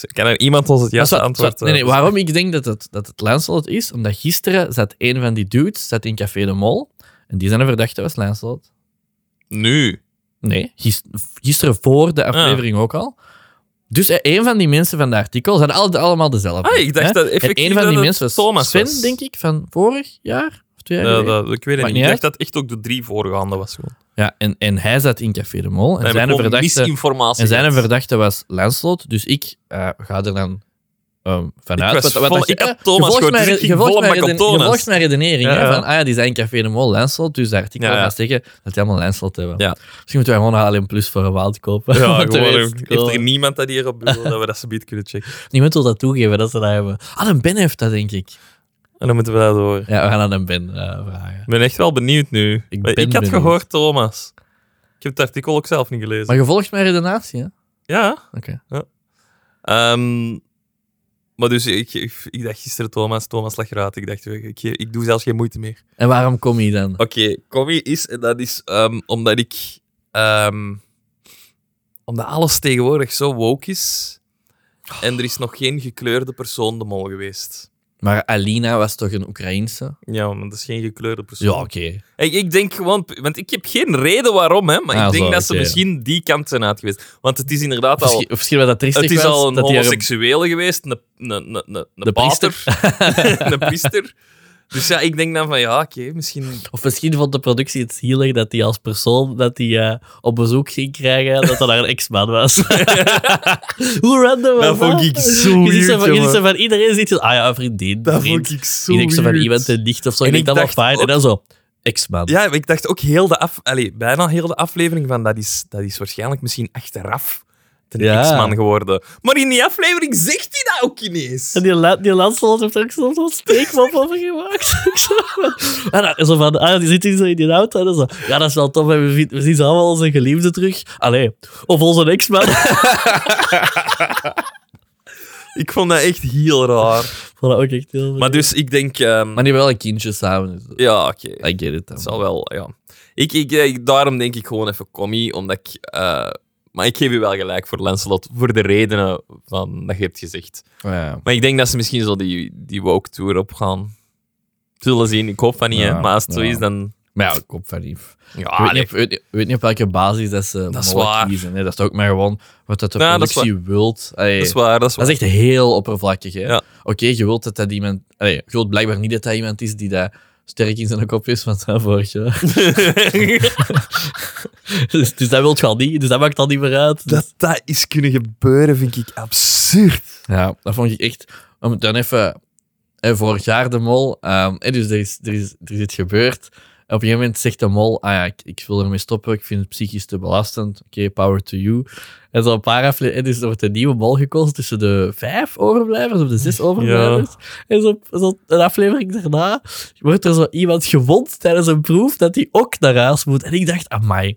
Speaker 2: Kan er iemand ons het
Speaker 1: Maar
Speaker 2: juiste
Speaker 1: zwart,
Speaker 2: antwoord...
Speaker 1: zwart. Nee, nee,
Speaker 2: eh,
Speaker 1: waarom ik denk dat het, dat het Lancelot is, omdat gisteren zat een van die dudes zat in Café de Mol. En die zijn een verdachte was Lancelot.
Speaker 2: Nu.
Speaker 1: Nee, gis- gisteren voor
Speaker 2: Ah.
Speaker 1: de aflevering ook al. Dus eh, een van die mensen van de artikel zijn al- allemaal dezelfde.
Speaker 2: Ah, ik dacht
Speaker 1: hè?
Speaker 2: dat
Speaker 1: En
Speaker 2: effectief
Speaker 1: een van
Speaker 2: dat
Speaker 1: die
Speaker 2: het
Speaker 1: mensen was
Speaker 2: Thomas
Speaker 1: Sven,
Speaker 2: was.
Speaker 1: denk ik, van vorig jaar. Of twee jaar
Speaker 2: Eh,
Speaker 1: geleden.
Speaker 2: dat, ik weet het
Speaker 1: Maakt
Speaker 2: niet.
Speaker 1: niet
Speaker 2: Ik dacht dat echt ook de drie voorgaande was. Gewoon.
Speaker 1: Ja, en, en hij zat in Café de Mol. En
Speaker 2: Dan heb ik
Speaker 1: zijn
Speaker 2: gewoon
Speaker 1: verdachte,
Speaker 2: misinformatie.
Speaker 1: en zijn
Speaker 2: gehad.
Speaker 1: verdachte was Lanslot. Dus ik eh, ga er dan ehm, vanuit.
Speaker 2: was
Speaker 1: Wat,
Speaker 2: vol-
Speaker 1: dacht je?
Speaker 2: ik had
Speaker 1: Eh, je
Speaker 2: Thomas
Speaker 1: volgt
Speaker 2: gehoord,
Speaker 1: mijn
Speaker 2: dus
Speaker 1: re-
Speaker 2: ik ging
Speaker 1: je volgt
Speaker 2: vol op
Speaker 1: mijn
Speaker 2: mijn
Speaker 1: reden- je
Speaker 2: Thomas.
Speaker 1: volgt mijn redenering.
Speaker 2: Ja,
Speaker 1: hè,
Speaker 2: ja.
Speaker 1: Van, ah ja, die zijn Café de Mol Lanslot. Dus daar artikel
Speaker 2: Ja, ja.
Speaker 1: gaat zeggen dat die allemaal Lanslot hebben.
Speaker 2: Ja.
Speaker 1: Misschien moeten wij gewoon een HLM Plus voor een wild kopen.
Speaker 2: Ja,
Speaker 1: Want de
Speaker 2: gewoon,
Speaker 1: rest-
Speaker 2: heeft er niemand dat hier op bureau dat we dat subiet kunnen checken.
Speaker 1: Niemand wil dat toegeven dat ze dat hebben. Ah, een Ben heeft dat, denk ik.
Speaker 2: En dan moeten we dat door.
Speaker 1: Ja, we gaan aan een Ben eh, vragen.
Speaker 2: Ik ben echt wel benieuwd nu. Maar Ik,
Speaker 1: ben
Speaker 2: had
Speaker 1: benieuwd.
Speaker 2: gehoord, Thomas. Ik heb het artikel ook zelf niet gelezen.
Speaker 1: Maar je volgt mijn redenatie, hè?
Speaker 2: Ja.
Speaker 1: Oké.
Speaker 2: Ja. Ehm, maar dus, ik, ik, ik dacht gisteren Thomas, Thomas lag eruit. Ik dacht, ik, ik, ik doe zelfs geen moeite meer.
Speaker 1: En waarom kom je dan?
Speaker 2: Oké, commie is, en dat is ehm, omdat ik. ehm, omdat alles tegenwoordig zo woke is. En er is nog geen gekleurde persoon de mol geweest.
Speaker 1: Maar Alina was toch een Oekraïense?
Speaker 2: Ja, maar dat is geen gekleurde persoon.
Speaker 1: Ja, oké.
Speaker 2: ik, ik denk gewoon, want ik heb geen reden waarom, hè, maar
Speaker 1: Ah,
Speaker 2: ik denk
Speaker 1: zo,
Speaker 2: dat ze
Speaker 1: oké.
Speaker 2: misschien die kant zijn uit geweest. Want het is inderdaad al.
Speaker 1: Misschien- Of misschien wat dat triestig
Speaker 2: Het is
Speaker 1: was,
Speaker 2: al een
Speaker 1: dat die er-
Speaker 2: homoseksuele geweest, een, een, een, een, een
Speaker 1: De
Speaker 2: pater, een priester. Dus ja, ik denk dan van ja, oké, misschien
Speaker 1: Of misschien vond de productie het zielig dat hij als persoon dat hij eh, op bezoek ging krijgen, dat dat haar een ex-man was. Hoe random was
Speaker 2: Dat
Speaker 1: dat?
Speaker 2: vond ik zo
Speaker 1: Je ziet
Speaker 2: weird,
Speaker 1: zo van, je ziet
Speaker 2: jongen.
Speaker 1: zo van iedereen ziet zo, ah ja, een vriendin,
Speaker 2: Dat
Speaker 1: vriend.
Speaker 2: vond ik zo
Speaker 1: Ik denk zo van
Speaker 2: weird.
Speaker 1: iemand een nicht of zo,
Speaker 2: En
Speaker 1: ik
Speaker 2: ik
Speaker 1: denk dat wel
Speaker 2: dacht
Speaker 1: fijn. En dan zo, ex-man.
Speaker 2: Ja, maar ik dacht ook heel de af, allee, bijna heel de aflevering van dat is, dat is waarschijnlijk misschien achteraf een
Speaker 1: Ja.
Speaker 2: X-man geworden. Maar in die aflevering zegt hij dat ook ineens.
Speaker 1: En die, la die Lancelot heeft er ook soms zo'n steekmop over gemaakt. Ik zo van- en dan, zo van, ah, die zit hier zo in die auto. En dan zo, ja, dat is wel tof. En we, zien- we zien ze allemaal onze geliefde terug. Allee, of onze ex-man. Ik
Speaker 2: Ik vond dat echt heel raar.
Speaker 1: vond dat ook echt heel
Speaker 2: Maar dus ik denk, ehm,
Speaker 1: Maar die hebben wel een kindje samen. Dus
Speaker 2: ja, oké.
Speaker 1: I get it. dan.
Speaker 2: Het zal wel, ja. Ik, ik, ik- daarom denk ik gewoon even commie, omdat ik... eh, maar ik geef u wel gelijk voor Lancelot, voor de redenen van, dat je hebt gezegd.
Speaker 1: Ja.
Speaker 2: Maar ik denk dat ze misschien zo die, die woke tour opgaan. Zullen zien, ik hoop van niet, hè.
Speaker 1: Ja,
Speaker 2: maar als het zo
Speaker 1: ja.
Speaker 2: is, dan...
Speaker 1: Maar ja, ik hoop van niet.
Speaker 2: Ja,
Speaker 1: Ik weet,
Speaker 2: allee,
Speaker 1: niet, op- weet, niet- weet niet op welke basis dat ze
Speaker 2: Ah, Dat is
Speaker 1: mogen
Speaker 2: waar.
Speaker 1: kiezen. Hè. Dat is ook maar gewoon wat dat de
Speaker 2: Ja, dat is
Speaker 1: productie wilt. Allee,
Speaker 2: dat is waar, dat is waar.
Speaker 1: Dat is echt heel oppervlakkig. hè.
Speaker 2: Ja.
Speaker 1: Oké, je wilt dat dat iemand. Allee, je wilt blijkbaar niet dat dat iemand is die daar sterk in zijn kop is van zijn vorig jaar. dus, dus dat wilt je al niet. Dus dat maakt al niet meer uit. Dus-
Speaker 2: dat dat is kunnen gebeuren, vind ik absurd.
Speaker 1: ja, dat vond ik echt. Om het dan even. hè, vorig jaar de mol. ehm, hè, dus er is, er, is, er is iets gebeurd. Op een gegeven moment zegt de mol: ah ja, ik, ik wil ermee stoppen. Ik vind het psychisch te belastend. Oké, power to you. En zo'n paar afleveringen. Dus er wordt een nieuwe mol gekozen tussen de vijf overblijvers of de zes overblijvers. En zo, zo een aflevering daarna wordt er zo iemand gewond tijdens een proef dat hij ook naar huis moet. En ik dacht, amai,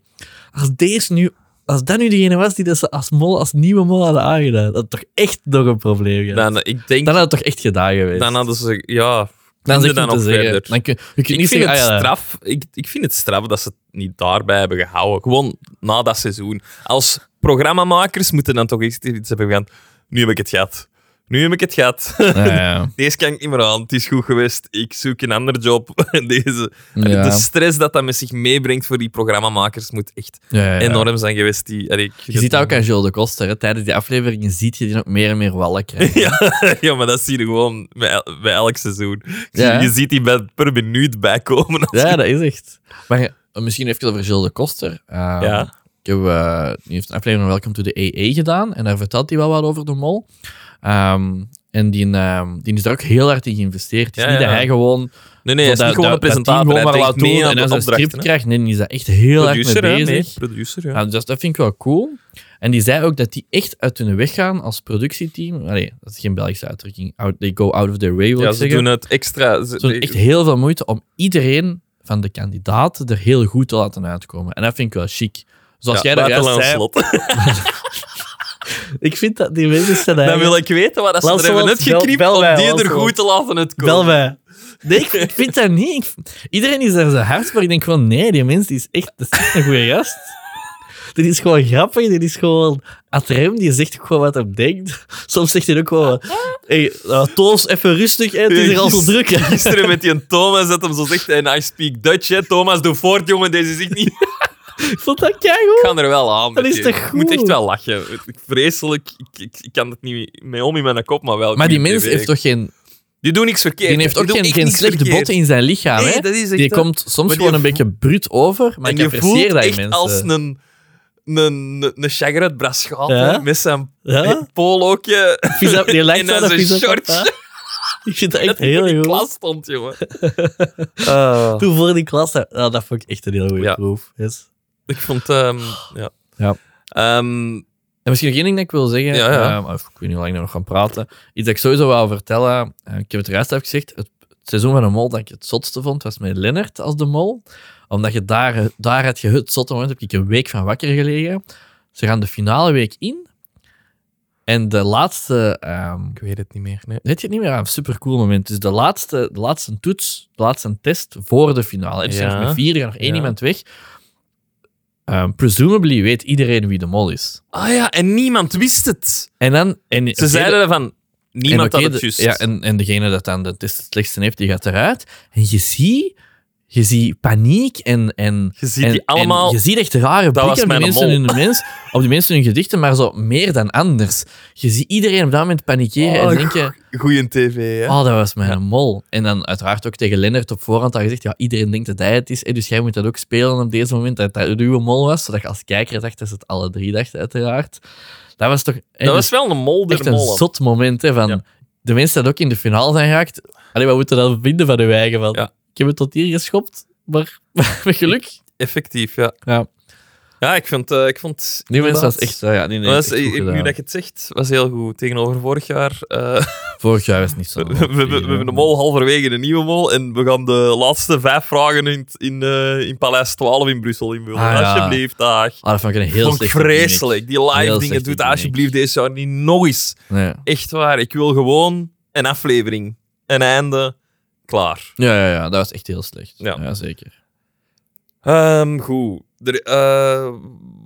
Speaker 1: als deze nu... Als dat nu degene was die dat ze als, mol, als nieuwe mol hadden aangedaan, dat had toch echt nog een probleem gehad. Dan,
Speaker 2: Dan, ik denk,
Speaker 1: had het toch echt gedaan geweest.
Speaker 2: dan hadden ze... Ja,
Speaker 1: dan
Speaker 2: ze
Speaker 1: zeg je
Speaker 2: dan
Speaker 1: te
Speaker 2: nog
Speaker 1: zeggen,
Speaker 2: verder.
Speaker 1: Dan kun, je kunt
Speaker 2: ik
Speaker 1: niet
Speaker 2: vind,
Speaker 1: zeggen,
Speaker 2: het
Speaker 1: ah ja,
Speaker 2: straf, ik, ik vind het straf dat ze het niet daarbij hebben gehouden. Gewoon na dat seizoen. Als programmamakers moeten dan toch echt iets hebben gedaan. Nu heb ik het gehad. Nu heb ik het gehad.
Speaker 1: ja, ja.
Speaker 2: Deze kan ik niet meer aan. Het is goed geweest. Ik zoek een ander job. Deze.
Speaker 1: Ja.
Speaker 2: De stress dat dat met zich meebrengt voor die programmamakers moet echt
Speaker 1: Ja, ja, ja.
Speaker 2: enorm zijn geweest. Die, allee, ik
Speaker 1: Je ziet dat ook aan Jules de Koster. hè. Tijdens die afleveringen ziet je die ook meer en meer wallen krijgen.
Speaker 2: Ja, ja, maar dat zie je gewoon bij, el- bij elk seizoen.
Speaker 1: Ja.
Speaker 2: Je ziet die bij- per minuut bijkomen. als
Speaker 1: Ja,
Speaker 2: je-
Speaker 1: dat is echt. Maar eh, misschien even over Gilles de Koster. Ehm,
Speaker 2: Ja.
Speaker 1: Ik heb, eh, die heeft een aflevering van Welcome to the EE gedaan en daar vertelt hij wel wat over de mol. Ehm, en die, ehm, die is daar ook heel hard in geïnvesteerd. Het is
Speaker 2: Ja,
Speaker 1: niet
Speaker 2: ja.
Speaker 1: dat hij gewoon...
Speaker 2: Nee, nee, het is
Speaker 1: dat-
Speaker 2: niet gewoon een
Speaker 1: dat- dat team
Speaker 2: presentator.
Speaker 1: gewoon
Speaker 2: Hij
Speaker 1: maar
Speaker 2: denkt
Speaker 1: laat
Speaker 2: mee
Speaker 1: doen
Speaker 2: aan
Speaker 1: en
Speaker 2: de
Speaker 1: als hij een
Speaker 2: opdrachten,
Speaker 1: script
Speaker 2: hè.
Speaker 1: krijgt, nee, die is daar echt heel erg mee
Speaker 2: Producer, hè?
Speaker 1: bezig.
Speaker 2: Nee, producer, ja.
Speaker 1: Ja, dus dat vind ik wel cool. En die zei ook dat die echt uit hun weg gaan als productieteam. Allee, dat is geen Belgische uitdrukking. Out- they go out of their way, wil
Speaker 2: Ja,
Speaker 1: ik
Speaker 2: ze
Speaker 1: zeggen.
Speaker 2: doen het extra. ze-
Speaker 1: Ze doen echt heel veel moeite om iedereen van de kandidaten er heel goed te laten uitkomen. En dat vind ik wel chic. Zoals
Speaker 2: Ja,
Speaker 1: jij daar
Speaker 2: laat
Speaker 1: juist
Speaker 2: de
Speaker 1: zei.
Speaker 2: Lancelot.
Speaker 1: Ik vind dat die mensen zijn
Speaker 2: Dan wil
Speaker 1: eigenlijk-
Speaker 2: ik weten wat ze er
Speaker 1: Lancelot,
Speaker 2: hebben
Speaker 1: bel-
Speaker 2: uitgeknipt
Speaker 1: bel
Speaker 2: om
Speaker 1: mij,
Speaker 2: die er
Speaker 1: Lancelot.
Speaker 2: goed te laten uitkomen.
Speaker 1: Bel mij. Nee, ik, ik vind dat niet. Ik- iedereen is daar zo hard voor. Ik denk gewoon, nee, die mens die is echt dat is echt een goede gast. Dit is gewoon grappig, dit is gewoon atrem, die zegt ook gewoon wat hij denkt. Soms zegt hij ook gewoon, hey, nou, Toos, even rustig, hè, het is hier al zo druk. hè."
Speaker 2: Gisteren met die Thomas dat hem zo zegt, en I speak Dutch, hè. Thomas, doe voort, jongen, deze is ik niet...
Speaker 1: Ik vond dat
Speaker 2: Ik
Speaker 1: keigoed.
Speaker 2: kan er wel aan.
Speaker 1: Dat
Speaker 2: met
Speaker 1: is
Speaker 2: je.
Speaker 1: toch
Speaker 2: Ik moet echt
Speaker 1: goed?
Speaker 2: wel lachen. Ik- Vreselijk. Ik, ik, ik kan het niet mee om in mijn kop, maar wel.
Speaker 1: Maar die
Speaker 2: goed
Speaker 1: mens
Speaker 2: tv.
Speaker 1: heeft toch geen
Speaker 2: Die doen niks verkeerd.
Speaker 1: Die heeft ook
Speaker 2: doen
Speaker 1: geen,
Speaker 2: echt
Speaker 1: geen
Speaker 2: niks
Speaker 1: slechte
Speaker 2: verkeerd.
Speaker 1: botten in zijn lichaam.
Speaker 2: Nee,
Speaker 1: hè?
Speaker 2: dat is echt,
Speaker 1: die
Speaker 2: eh,
Speaker 1: komt soms
Speaker 2: die
Speaker 1: gewoon een
Speaker 2: voelt-
Speaker 1: beetje bruut over, maar
Speaker 2: en
Speaker 1: ik
Speaker 2: je voelt
Speaker 1: apprecieer dat eh. in
Speaker 2: echt
Speaker 1: mensen.
Speaker 2: als een, een, een, een shagger uit Braschaat,
Speaker 1: Ja?
Speaker 2: hè, met zijn
Speaker 1: Ja?
Speaker 2: polootje
Speaker 1: Vis op- die lijkt wel
Speaker 2: en dan
Speaker 1: dat
Speaker 2: zijn
Speaker 1: vis op-
Speaker 2: shortje.
Speaker 1: Ik vind dat
Speaker 2: Dat
Speaker 1: echt
Speaker 2: hij in
Speaker 1: heel
Speaker 2: die
Speaker 1: goed. Ah.
Speaker 2: klas stond, jongen.
Speaker 1: Toen voor die klas, dat, nou, dat vond ik echt een heel goede
Speaker 2: Ja.
Speaker 1: proef. Yes.
Speaker 2: Ik vond... ehm, ja.
Speaker 1: Ja.
Speaker 2: Ehm,
Speaker 1: En misschien nog één ding dat ik wil zeggen,
Speaker 2: Ja, ja.
Speaker 1: ehm, of ik weet niet hoe lang we nog gaan praten. Iets dat ik sowieso wou vertellen, eh, ik heb het eruit gezegd, het, het seizoen van de mol dat ik het zotste vond, was met Lennart als de mol. Omdat je daar, daar had je het zotte moment, heb ik een week van wakker gelegen. Ze gaan de finale week in. En de laatste ehm,
Speaker 2: ik weet het niet meer. Nee.
Speaker 1: Weet je het niet meer? Ja, een supercool moment. Dus de laatste, de laatste toets, de laatste test voor de finale. Er zijn
Speaker 2: Ja.
Speaker 1: nog maar vier, er gaat nog één
Speaker 2: Ja.
Speaker 1: iemand weg. Ehm, presumably weet iedereen wie de mol is.
Speaker 2: Ah ja, en niemand wist het.
Speaker 1: En dan... En,
Speaker 2: Ze zeiden van... Niemand had het juist.
Speaker 1: Ja, en, en degene dat dan de test het slechtste heeft, die gaat eruit. En je ziet... Je ziet paniek en... en
Speaker 2: je ziet
Speaker 1: en-
Speaker 2: die
Speaker 1: en
Speaker 2: allemaal...
Speaker 1: je ziet echt rare blikken op
Speaker 2: was
Speaker 1: die,
Speaker 2: mijn
Speaker 1: mensen
Speaker 2: mol.
Speaker 1: in hun mens, op die mensen in hun gedichten, maar zo meer dan anders. Je ziet iedereen op dat moment panikeren
Speaker 2: Oh,
Speaker 1: en denken...
Speaker 2: Goeie tv, hè?
Speaker 1: Oh, dat was mijn mol. En dan uiteraard ook tegen Lennart op voorhand al gezegd, ja, iedereen denkt dat hij het is, hè, dus jij moet dat ook spelen op deze moment, dat dat uw mol was, zodat je als kijker dacht dat ze het alle drie dachten, uiteraard. Dat was toch hè,
Speaker 2: dat
Speaker 1: dus
Speaker 2: was wel een mol der
Speaker 1: echt een
Speaker 2: mollen.
Speaker 1: zot moment, hè, van
Speaker 2: Ja.
Speaker 1: de mensen die ook in de finale zijn geraakt. Allee, wat moeten we dan vinden van hun eigen? Van,
Speaker 2: Ja.
Speaker 1: Ik heb het tot hier geschopt, maar met geluk.
Speaker 2: Effectief, ja.
Speaker 1: Ja.
Speaker 2: Ja, ik vond... eh, ik vond
Speaker 1: Die mensen
Speaker 2: inderdaad-
Speaker 1: was echt... eh, Ja, die
Speaker 2: Maar dat
Speaker 1: was
Speaker 2: is- ik- nu dat je het zegt, was heel goed. Tegenover vorig jaar. eh,
Speaker 1: Vorig jaar was het niet zo.
Speaker 2: we, we- we- we hebben de mol halverwege een nieuwe mol. En we gaan de laatste vijf vragen in, het- in, eh, in Paleis 12 in Brussel invullen.
Speaker 1: Ah, ja.
Speaker 2: Alsjeblieft, dag.
Speaker 1: Ah, dat vond ik een heel
Speaker 2: Vond ik
Speaker 1: slechte gimmick.
Speaker 2: vreselijk. Die live
Speaker 1: Heel
Speaker 2: dingen
Speaker 1: slechte
Speaker 2: doet
Speaker 1: gimmick.
Speaker 2: alsjeblieft deze jaar niet nog eens.
Speaker 1: Nee.
Speaker 2: Echt waar. Ik wil gewoon een aflevering. Een einde. Klaar.
Speaker 1: Ja, ja, ja, dat was echt heel slecht.
Speaker 2: Ja.
Speaker 1: ja zeker.
Speaker 2: Ehm, goed. Er, eh,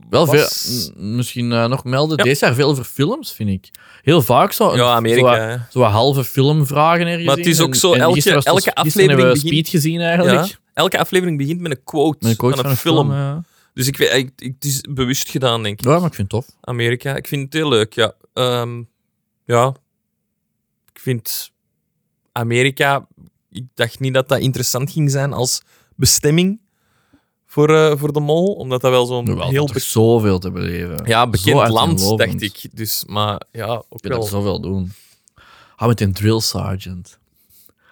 Speaker 1: Wel veel,
Speaker 2: was-
Speaker 1: m- misschien eh, nog melden.
Speaker 2: Ja.
Speaker 1: Deze jaar veel over films, vind ik. Heel vaak zo.
Speaker 2: Ja, Amerika. hè.
Speaker 1: Zo wat halve filmvragen ergens.
Speaker 2: Maar het is
Speaker 1: in.
Speaker 2: ook
Speaker 1: En-
Speaker 2: zo,
Speaker 1: en
Speaker 2: elke-
Speaker 1: gisteren was dus-
Speaker 2: elke
Speaker 1: gisteren
Speaker 2: aflevering
Speaker 1: hebben we
Speaker 2: begint-
Speaker 1: Speed gezien eigenlijk.
Speaker 2: Ja. Elke aflevering begint met een quote,
Speaker 1: Met een coach
Speaker 2: van een, film. Dus ik, weet- ik, ik- het is bewust gedaan, denk ik.
Speaker 1: eh. Ja, maar ik vind het tof.
Speaker 2: Amerika. Ik vind het heel leuk, ja. Ehm, ja. Ik vind Amerika... Ik dacht niet dat dat interessant ging zijn als bestemming voor, eh, voor de mol. Omdat dat wel zo'n
Speaker 1: Jawel,
Speaker 2: heel
Speaker 1: dat
Speaker 2: be-
Speaker 1: is zoveel te beleven.
Speaker 2: ja, bekend
Speaker 1: zo
Speaker 2: land,
Speaker 1: uiteenlopend.
Speaker 2: dacht ik. Dus, maar ja, ook
Speaker 1: Je kunt
Speaker 2: wel
Speaker 1: er zoveel doen. Ah, met een drill sergeant.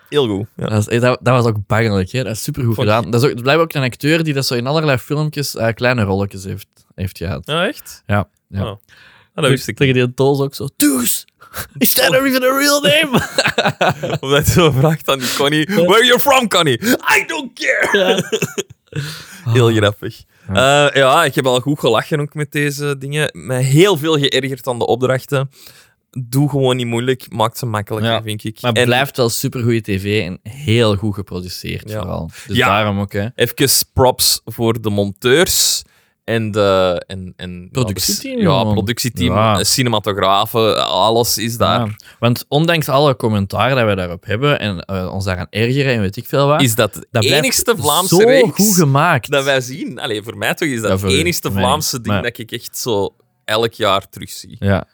Speaker 2: heel goed. Ja.
Speaker 1: Dat, is- eh, dat, dat was ook bangelijk, hè? Dat is supergoed
Speaker 2: Vond ik-
Speaker 1: gedaan. Dat is ook, dat blijft ook een acteur die dat zo in allerlei filmpjes eh, kleine rolletjes heeft, heeft gehad.
Speaker 2: Ah, echt?
Speaker 1: Ja, ja.
Speaker 2: Oh. Ah, dat wist ik
Speaker 1: Tegen die doos ook zo. Toes! Is that not even a real name?
Speaker 2: niet. Omdat je zo vraagt aan die Connie, where you from, Connie? I don't care! Heel grappig. Ja. ja, ik heb al goed gelachen ook met deze dingen. Mij heel veel geërgerd aan de opdrachten. Doe gewoon niet moeilijk, maak ze makkelijker,
Speaker 1: Ja,
Speaker 2: vind ik.
Speaker 1: Maar
Speaker 2: En
Speaker 1: blijft wel supergoeie tv en heel goed geproduceerd
Speaker 2: Ja.
Speaker 1: vooral. Dus
Speaker 2: Ja.
Speaker 1: daarom ook, hè.
Speaker 2: even props voor de monteurs en de... En, en,
Speaker 1: Productieteam,
Speaker 2: Ja,
Speaker 1: man.
Speaker 2: productieteam,
Speaker 1: Ja.
Speaker 2: eh, cinematografen, alles is daar.
Speaker 1: Ja. Want ondanks alle commentaar dat we daarop hebben en eh, ons daaraan ergeren en weet ik veel wat,
Speaker 2: Is dat de
Speaker 1: dat blijft
Speaker 2: enigste Vlaamse
Speaker 1: zo
Speaker 2: reeks
Speaker 1: goed gemaakt.
Speaker 2: dat wij zien? Allee, voor mij toch is dat
Speaker 1: Ja,
Speaker 2: het
Speaker 1: voor-
Speaker 2: enigste
Speaker 1: voor mij
Speaker 2: Vlaamse
Speaker 1: niet,
Speaker 2: ding
Speaker 1: maar-
Speaker 2: dat ik echt zo elk jaar terugzie.
Speaker 1: Ja.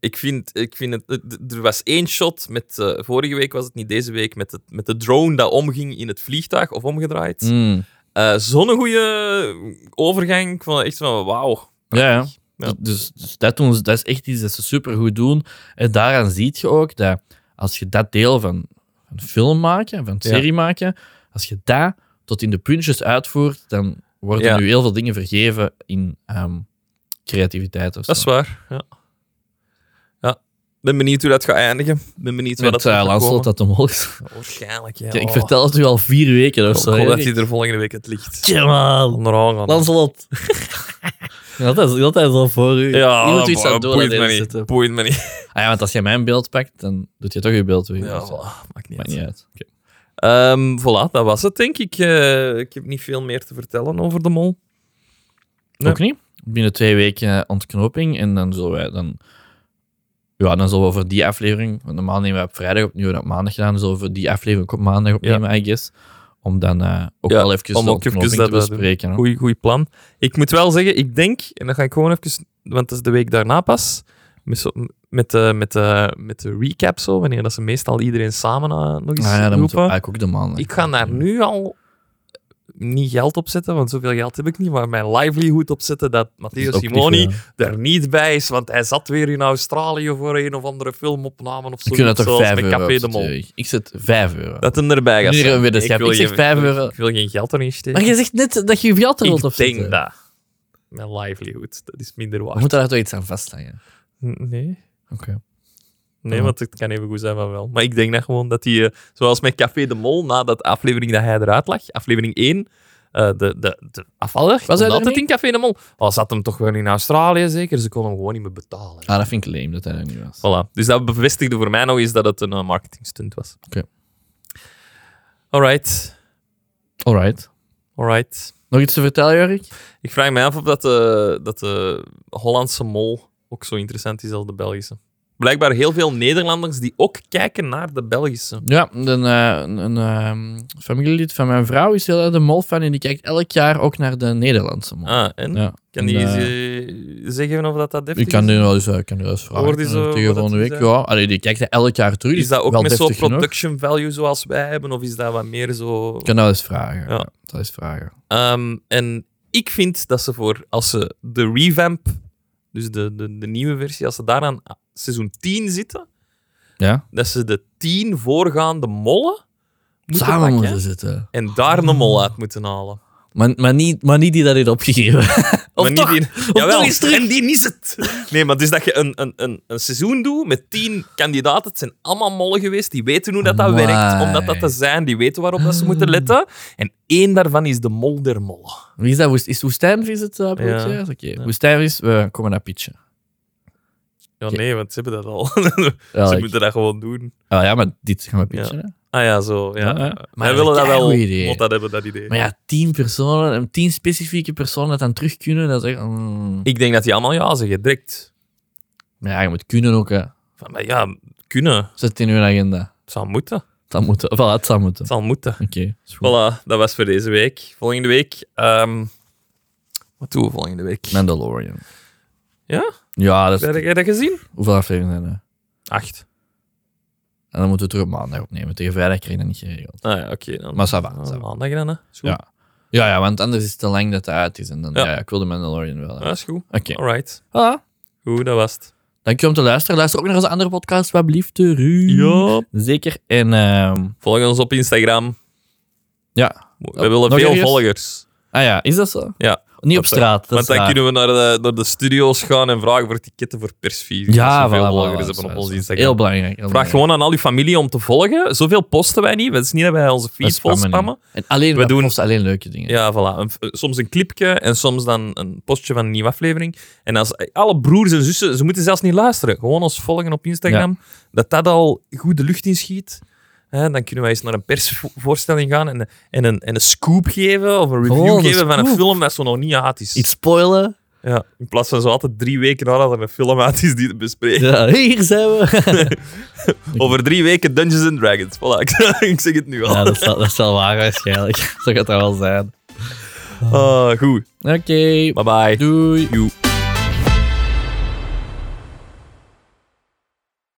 Speaker 2: Ik vind, ik vind het, het- d- er was één shot met, eh, vorige week was het niet, deze week, met, het, met de drone dat omging in het vliegtuig of omgedraaid.
Speaker 1: Mm.
Speaker 2: Eh, Zo'n goede overgang. Ik vond het echt van wauw.
Speaker 1: Ja, ja.
Speaker 2: Ja.
Speaker 1: Dus, dus dat, doen ze, dat is echt iets dat ze supergoed doen. En daaraan zie je ook dat als je dat deel van, van film maken, van
Speaker 2: Ja.
Speaker 1: serie maken, als je dat tot in de puntjes uitvoert, dan worden
Speaker 2: Ja.
Speaker 1: nu heel veel dingen vergeven in ehm, creativiteit of zo.
Speaker 2: Dat is waar. Ja. ja. Ben benieuwd hoe dat gaat eindigen. Ben benieuwd waar
Speaker 1: Met
Speaker 2: dat
Speaker 1: eh,
Speaker 2: gaat
Speaker 1: Lancelot dat omhoog is.
Speaker 2: komen. Waarschijnlijk, ja.
Speaker 1: Kijk, Ik
Speaker 2: Oh.
Speaker 1: vertel het u al vier weken
Speaker 2: Ik
Speaker 1: of
Speaker 2: hoop
Speaker 1: zo.
Speaker 2: dat
Speaker 1: hè.
Speaker 2: hij er volgende week het licht
Speaker 1: Tja, man.
Speaker 2: onderaan gaat.
Speaker 1: Lancelot. dat, is, dat is al voor u.
Speaker 2: Ja,
Speaker 1: Je moet iets
Speaker 2: bo-
Speaker 1: aan doen.
Speaker 2: boeit
Speaker 1: aan
Speaker 2: me
Speaker 1: deze
Speaker 2: niet.
Speaker 1: setup.
Speaker 2: Boeit me niet.
Speaker 1: Ah, ja, want als je mijn beeld pakt, dan doet je toch je beeld weer.
Speaker 2: Ja,
Speaker 1: Dus, eh,
Speaker 2: voilà, maakt niet
Speaker 1: Maakt
Speaker 2: uit.
Speaker 1: niet uit.
Speaker 2: Ehm, voilà, dat was het, denk ik. Eh, ik heb niet veel meer te vertellen over de mol. Nee.
Speaker 1: Ook niet. Binnen twee weken eh, ontknoping. En dan zullen wij dan. Ja, dan zullen we voor die aflevering. Want normaal nemen we op vrijdag opnieuw en op maandag gedaan. Dan zullen we voor die aflevering ook op maandag opnemen, I guess. Om dan eh, ook
Speaker 2: Ja,
Speaker 1: wel even
Speaker 2: om
Speaker 1: de
Speaker 2: ook even
Speaker 1: ontknoping
Speaker 2: dat,
Speaker 1: te
Speaker 2: eh,
Speaker 1: bespreken. hè.
Speaker 2: Goeie, goeie plan. Ik moet wel zeggen, ik denk, en dan ga ik gewoon even, want dat is de week daarna pas, met, zo- met de, met, de, met de recap zo, wanneer dat ze meestal iedereen samen eh, nog eens
Speaker 1: Nou ja, dan moeten we
Speaker 2: roepen.
Speaker 1: eigenlijk ook de man.
Speaker 2: Ik ga daar nu al niet geld op zetten, want zoveel geld heb ik niet, maar mijn livelihood opzetten dat Matteo Simoni er niet bij is, want hij zat weer in Australië voor een of andere filmopname of zo.
Speaker 1: Ik vind dat toch
Speaker 2: zoals
Speaker 1: 5
Speaker 2: met
Speaker 1: euro.
Speaker 2: Café de Mol.
Speaker 1: opsturen. Ik zet 5 euro.
Speaker 2: Dat hem erbij gaat
Speaker 1: Nu
Speaker 2: staan.
Speaker 1: hebben we de schep. Ik
Speaker 2: wil
Speaker 1: zeg
Speaker 2: je-
Speaker 1: vijf
Speaker 2: ik-
Speaker 1: euro.
Speaker 2: Ik wil geen geld erin steken.
Speaker 1: Maar je zegt net dat je je geld er wilt
Speaker 2: ik
Speaker 1: opzetten.
Speaker 2: denk dat. Mijn livelihood, dat is minder
Speaker 1: We
Speaker 2: waard.
Speaker 1: moeten daar toch iets aan vastleggen.
Speaker 2: N- Nee.
Speaker 1: Oké.
Speaker 2: Nee,
Speaker 1: Ja.
Speaker 2: want het kan even goed zijn van wel. Maar ik denk dat gewoon dat hij, eh, zoals met Café de Mol, na dat aflevering dat hij eruit lag, aflevering 1, eh, de, de, de afvaller,
Speaker 1: hij er
Speaker 2: dat het
Speaker 1: niet?
Speaker 2: in Café de Mol, al zat hem toch wel in Australië zeker, ze konden hem gewoon niet meer betalen.
Speaker 1: Ah, dat vind ik leem dat hij er niet was.
Speaker 2: Voilà. Dus dat bevestigde voor mij nog eens dat het een eh, marketingstunt was.
Speaker 1: Oké.
Speaker 2: Alright,
Speaker 1: Alright.
Speaker 2: alright.
Speaker 1: Nog iets te vertellen, Jorik?
Speaker 2: Ik vraag me af of dat de, dat de Hollandse mol ook zo interessant is als de Belgische. Blijkbaar heel veel Nederlanders die ook kijken naar de Belgische.
Speaker 1: Ja, een, eh, een, een, ehm, familielid van mijn vrouw is heel erg de mol fan en die kijkt elk jaar ook naar de Nederlandse mol.
Speaker 2: Ah, en?
Speaker 1: Ja.
Speaker 2: Kan die
Speaker 1: En,
Speaker 2: eens,
Speaker 1: eh,
Speaker 2: eh, zeggen of dat dat deftig
Speaker 1: Ik kan
Speaker 2: is?
Speaker 1: nu wel eens, eh, ik kan nu wel eens vragen.
Speaker 2: Hoorde ze
Speaker 1: eh,
Speaker 2: wat
Speaker 1: tegen
Speaker 2: dat
Speaker 1: volgende
Speaker 2: ze
Speaker 1: week.
Speaker 2: zei?
Speaker 1: Ja, allee, die kijkt dat elk jaar terug.
Speaker 2: Is
Speaker 1: dus
Speaker 2: dat ook
Speaker 1: wel
Speaker 2: met zo'n
Speaker 1: deftig genoeg.
Speaker 2: production value zoals wij hebben? Of is dat wat meer zo...
Speaker 1: Ik kan dat eens vragen.
Speaker 2: Ja.
Speaker 1: Ja. Dat is vragen.
Speaker 2: Ehm, en ik vind dat ze voor, als ze de revamp, dus de, de, de nieuwe versie, als ze daar aan seizoen 10 zitten,
Speaker 1: Ja?
Speaker 2: dat ze de 10 voorgaande mollen moeten
Speaker 1: Samen
Speaker 2: pakken
Speaker 1: moeten zitten.
Speaker 2: en daar een
Speaker 1: Hmm.
Speaker 2: mol uit moeten halen.
Speaker 1: Maar, maar, niet, maar niet die dat heeft opgegeven. of
Speaker 2: Maar niet
Speaker 1: toch?
Speaker 2: die- Jawel,
Speaker 1: toch eens terug.
Speaker 2: en die is het. Nee, maar dus dat je een, een, een, een seizoen doet met tien kandidaten. Het zijn allemaal mollen geweest. Die weten hoe dat, dat
Speaker 1: Amai.
Speaker 2: werkt, om dat, dat te zijn. Die weten waarop dat ze
Speaker 1: Hmm.
Speaker 2: moeten letten. En één daarvan is de mol der mollen.
Speaker 1: Wie is dat? Woest- Is Woestijnvis het eh, productiehuis?
Speaker 2: Ja.
Speaker 1: Oké.
Speaker 2: Ja.
Speaker 1: Woestijnvis, we komen naar pitchen.
Speaker 2: Ja,
Speaker 1: Ja.
Speaker 2: nee, want ze hebben dat al.
Speaker 1: Ja,
Speaker 2: ze
Speaker 1: ik-
Speaker 2: moeten dat gewoon doen.
Speaker 1: ah, ja, maar dit gaan we pitchen. hè.
Speaker 2: Ah ja, zo. Ja.
Speaker 1: Ja, ja.
Speaker 2: Maar
Speaker 1: Maar
Speaker 2: wij willen
Speaker 1: dat
Speaker 2: dat
Speaker 1: is een
Speaker 2: wel.
Speaker 1: keigoed idee.
Speaker 2: Want dat hebben dat idee.
Speaker 1: Maar ja, tien personen, en tien specifieke personen dat dan terug kunnen, dat is echt... mm.
Speaker 2: Ik denk dat die allemaal ja zeggen, direct.
Speaker 1: Maar ja, je moet kunnen ook, hè.
Speaker 2: Van, maar ja, kunnen.
Speaker 1: Zet het in uw agenda.
Speaker 2: Het zou moeten.
Speaker 1: Dat moet, voilà, het zou moeten.
Speaker 2: Het zou moeten.
Speaker 1: Oké, is goed.
Speaker 2: Voilà, dat was voor deze week. Volgende week... ehm, wat doen we volgende week?
Speaker 1: Mandalorian.
Speaker 2: Ja?
Speaker 1: Ja, dat is...
Speaker 2: Heb jij dat gezien?
Speaker 1: Hoeveel afleveringen zijn er?
Speaker 2: Acht.
Speaker 1: En dan moeten we terug op maandag opnemen. Tegen vrijdag krijg je dat niet geregeld.
Speaker 2: Ah ja, oké. dan-
Speaker 1: Maar ça va,
Speaker 2: Ah,
Speaker 1: ça va.
Speaker 2: maandag dan, hè. Is goed.
Speaker 1: Ja. Ja, ja, want anders is het te lang dat het uit is. En dan,
Speaker 2: Ja.
Speaker 1: ja. ja, ik wil de Mandalorian wel.
Speaker 2: Ah,
Speaker 1: hebben.
Speaker 2: is goed.
Speaker 1: Oké.
Speaker 2: Alright.
Speaker 1: Voilà.
Speaker 2: Goed, dat was het.
Speaker 1: Dankjewel om te luisteren. Luister ook naar onze andere podcast, wat blieft de Zeker. En ehm,
Speaker 2: Volg ons op Instagram.
Speaker 1: ja.
Speaker 2: We
Speaker 1: Ja,
Speaker 2: willen
Speaker 1: nog
Speaker 2: veel
Speaker 1: ergens?
Speaker 2: volgers.
Speaker 1: Ah ja, is dat zo?
Speaker 2: Ja.
Speaker 1: Niet op
Speaker 2: Want, eh,
Speaker 1: straat. Dat
Speaker 2: Want
Speaker 1: is
Speaker 2: dan
Speaker 1: waar.
Speaker 2: kunnen we naar de, naar de studio's gaan en vragen voor ticketen voor persvisie.
Speaker 1: Ja,
Speaker 2: zoveel
Speaker 1: voilà, voilà,
Speaker 2: volgers
Speaker 1: voilà,
Speaker 2: hebben op
Speaker 1: zo,
Speaker 2: ons
Speaker 1: zo.
Speaker 2: Instagram.
Speaker 1: Heel belangrijk. heel
Speaker 2: Vraag
Speaker 1: belangrijk.
Speaker 2: gewoon aan al uw familie om te volgen. Zoveel posten wij niet. Het is niet dat wij onze
Speaker 1: We
Speaker 2: feed vol
Speaker 1: spammen
Speaker 2: spammen.
Speaker 1: niet. En alleen,
Speaker 2: We
Speaker 1: we
Speaker 2: doen-
Speaker 1: doen alleen leuke dingen.
Speaker 2: Ja, voilà. Een- soms een clipje en soms dan een postje van een nieuwe aflevering. En als eh, alle broers en zussen, ze moeten zelfs niet luisteren. Gewoon ons volgen op Instagram. Dat dat al goed de lucht inschiet. Hè, dan kunnen wij eens naar een persvoorstelling gaan en, en, een, en een scoop geven of een review
Speaker 1: Oh, een
Speaker 2: geven van een
Speaker 1: scoop.
Speaker 2: film dat zo nog niet uit is.
Speaker 1: Iets spoilen.
Speaker 2: Ja, in plaats van zo altijd drie weken nadat er een film uit is die te bespreken.
Speaker 1: Ja, hier zijn we.
Speaker 2: Over drie weken Dungeons and Dragons. Voilà, ik, ik zeg het nu al.
Speaker 1: ja, dat is, wel, dat is wel waar waarschijnlijk. Zo gaat dat wel zijn.
Speaker 2: Ah, goed,
Speaker 1: Oké,
Speaker 2: bye bye.
Speaker 1: doei.
Speaker 2: Joe.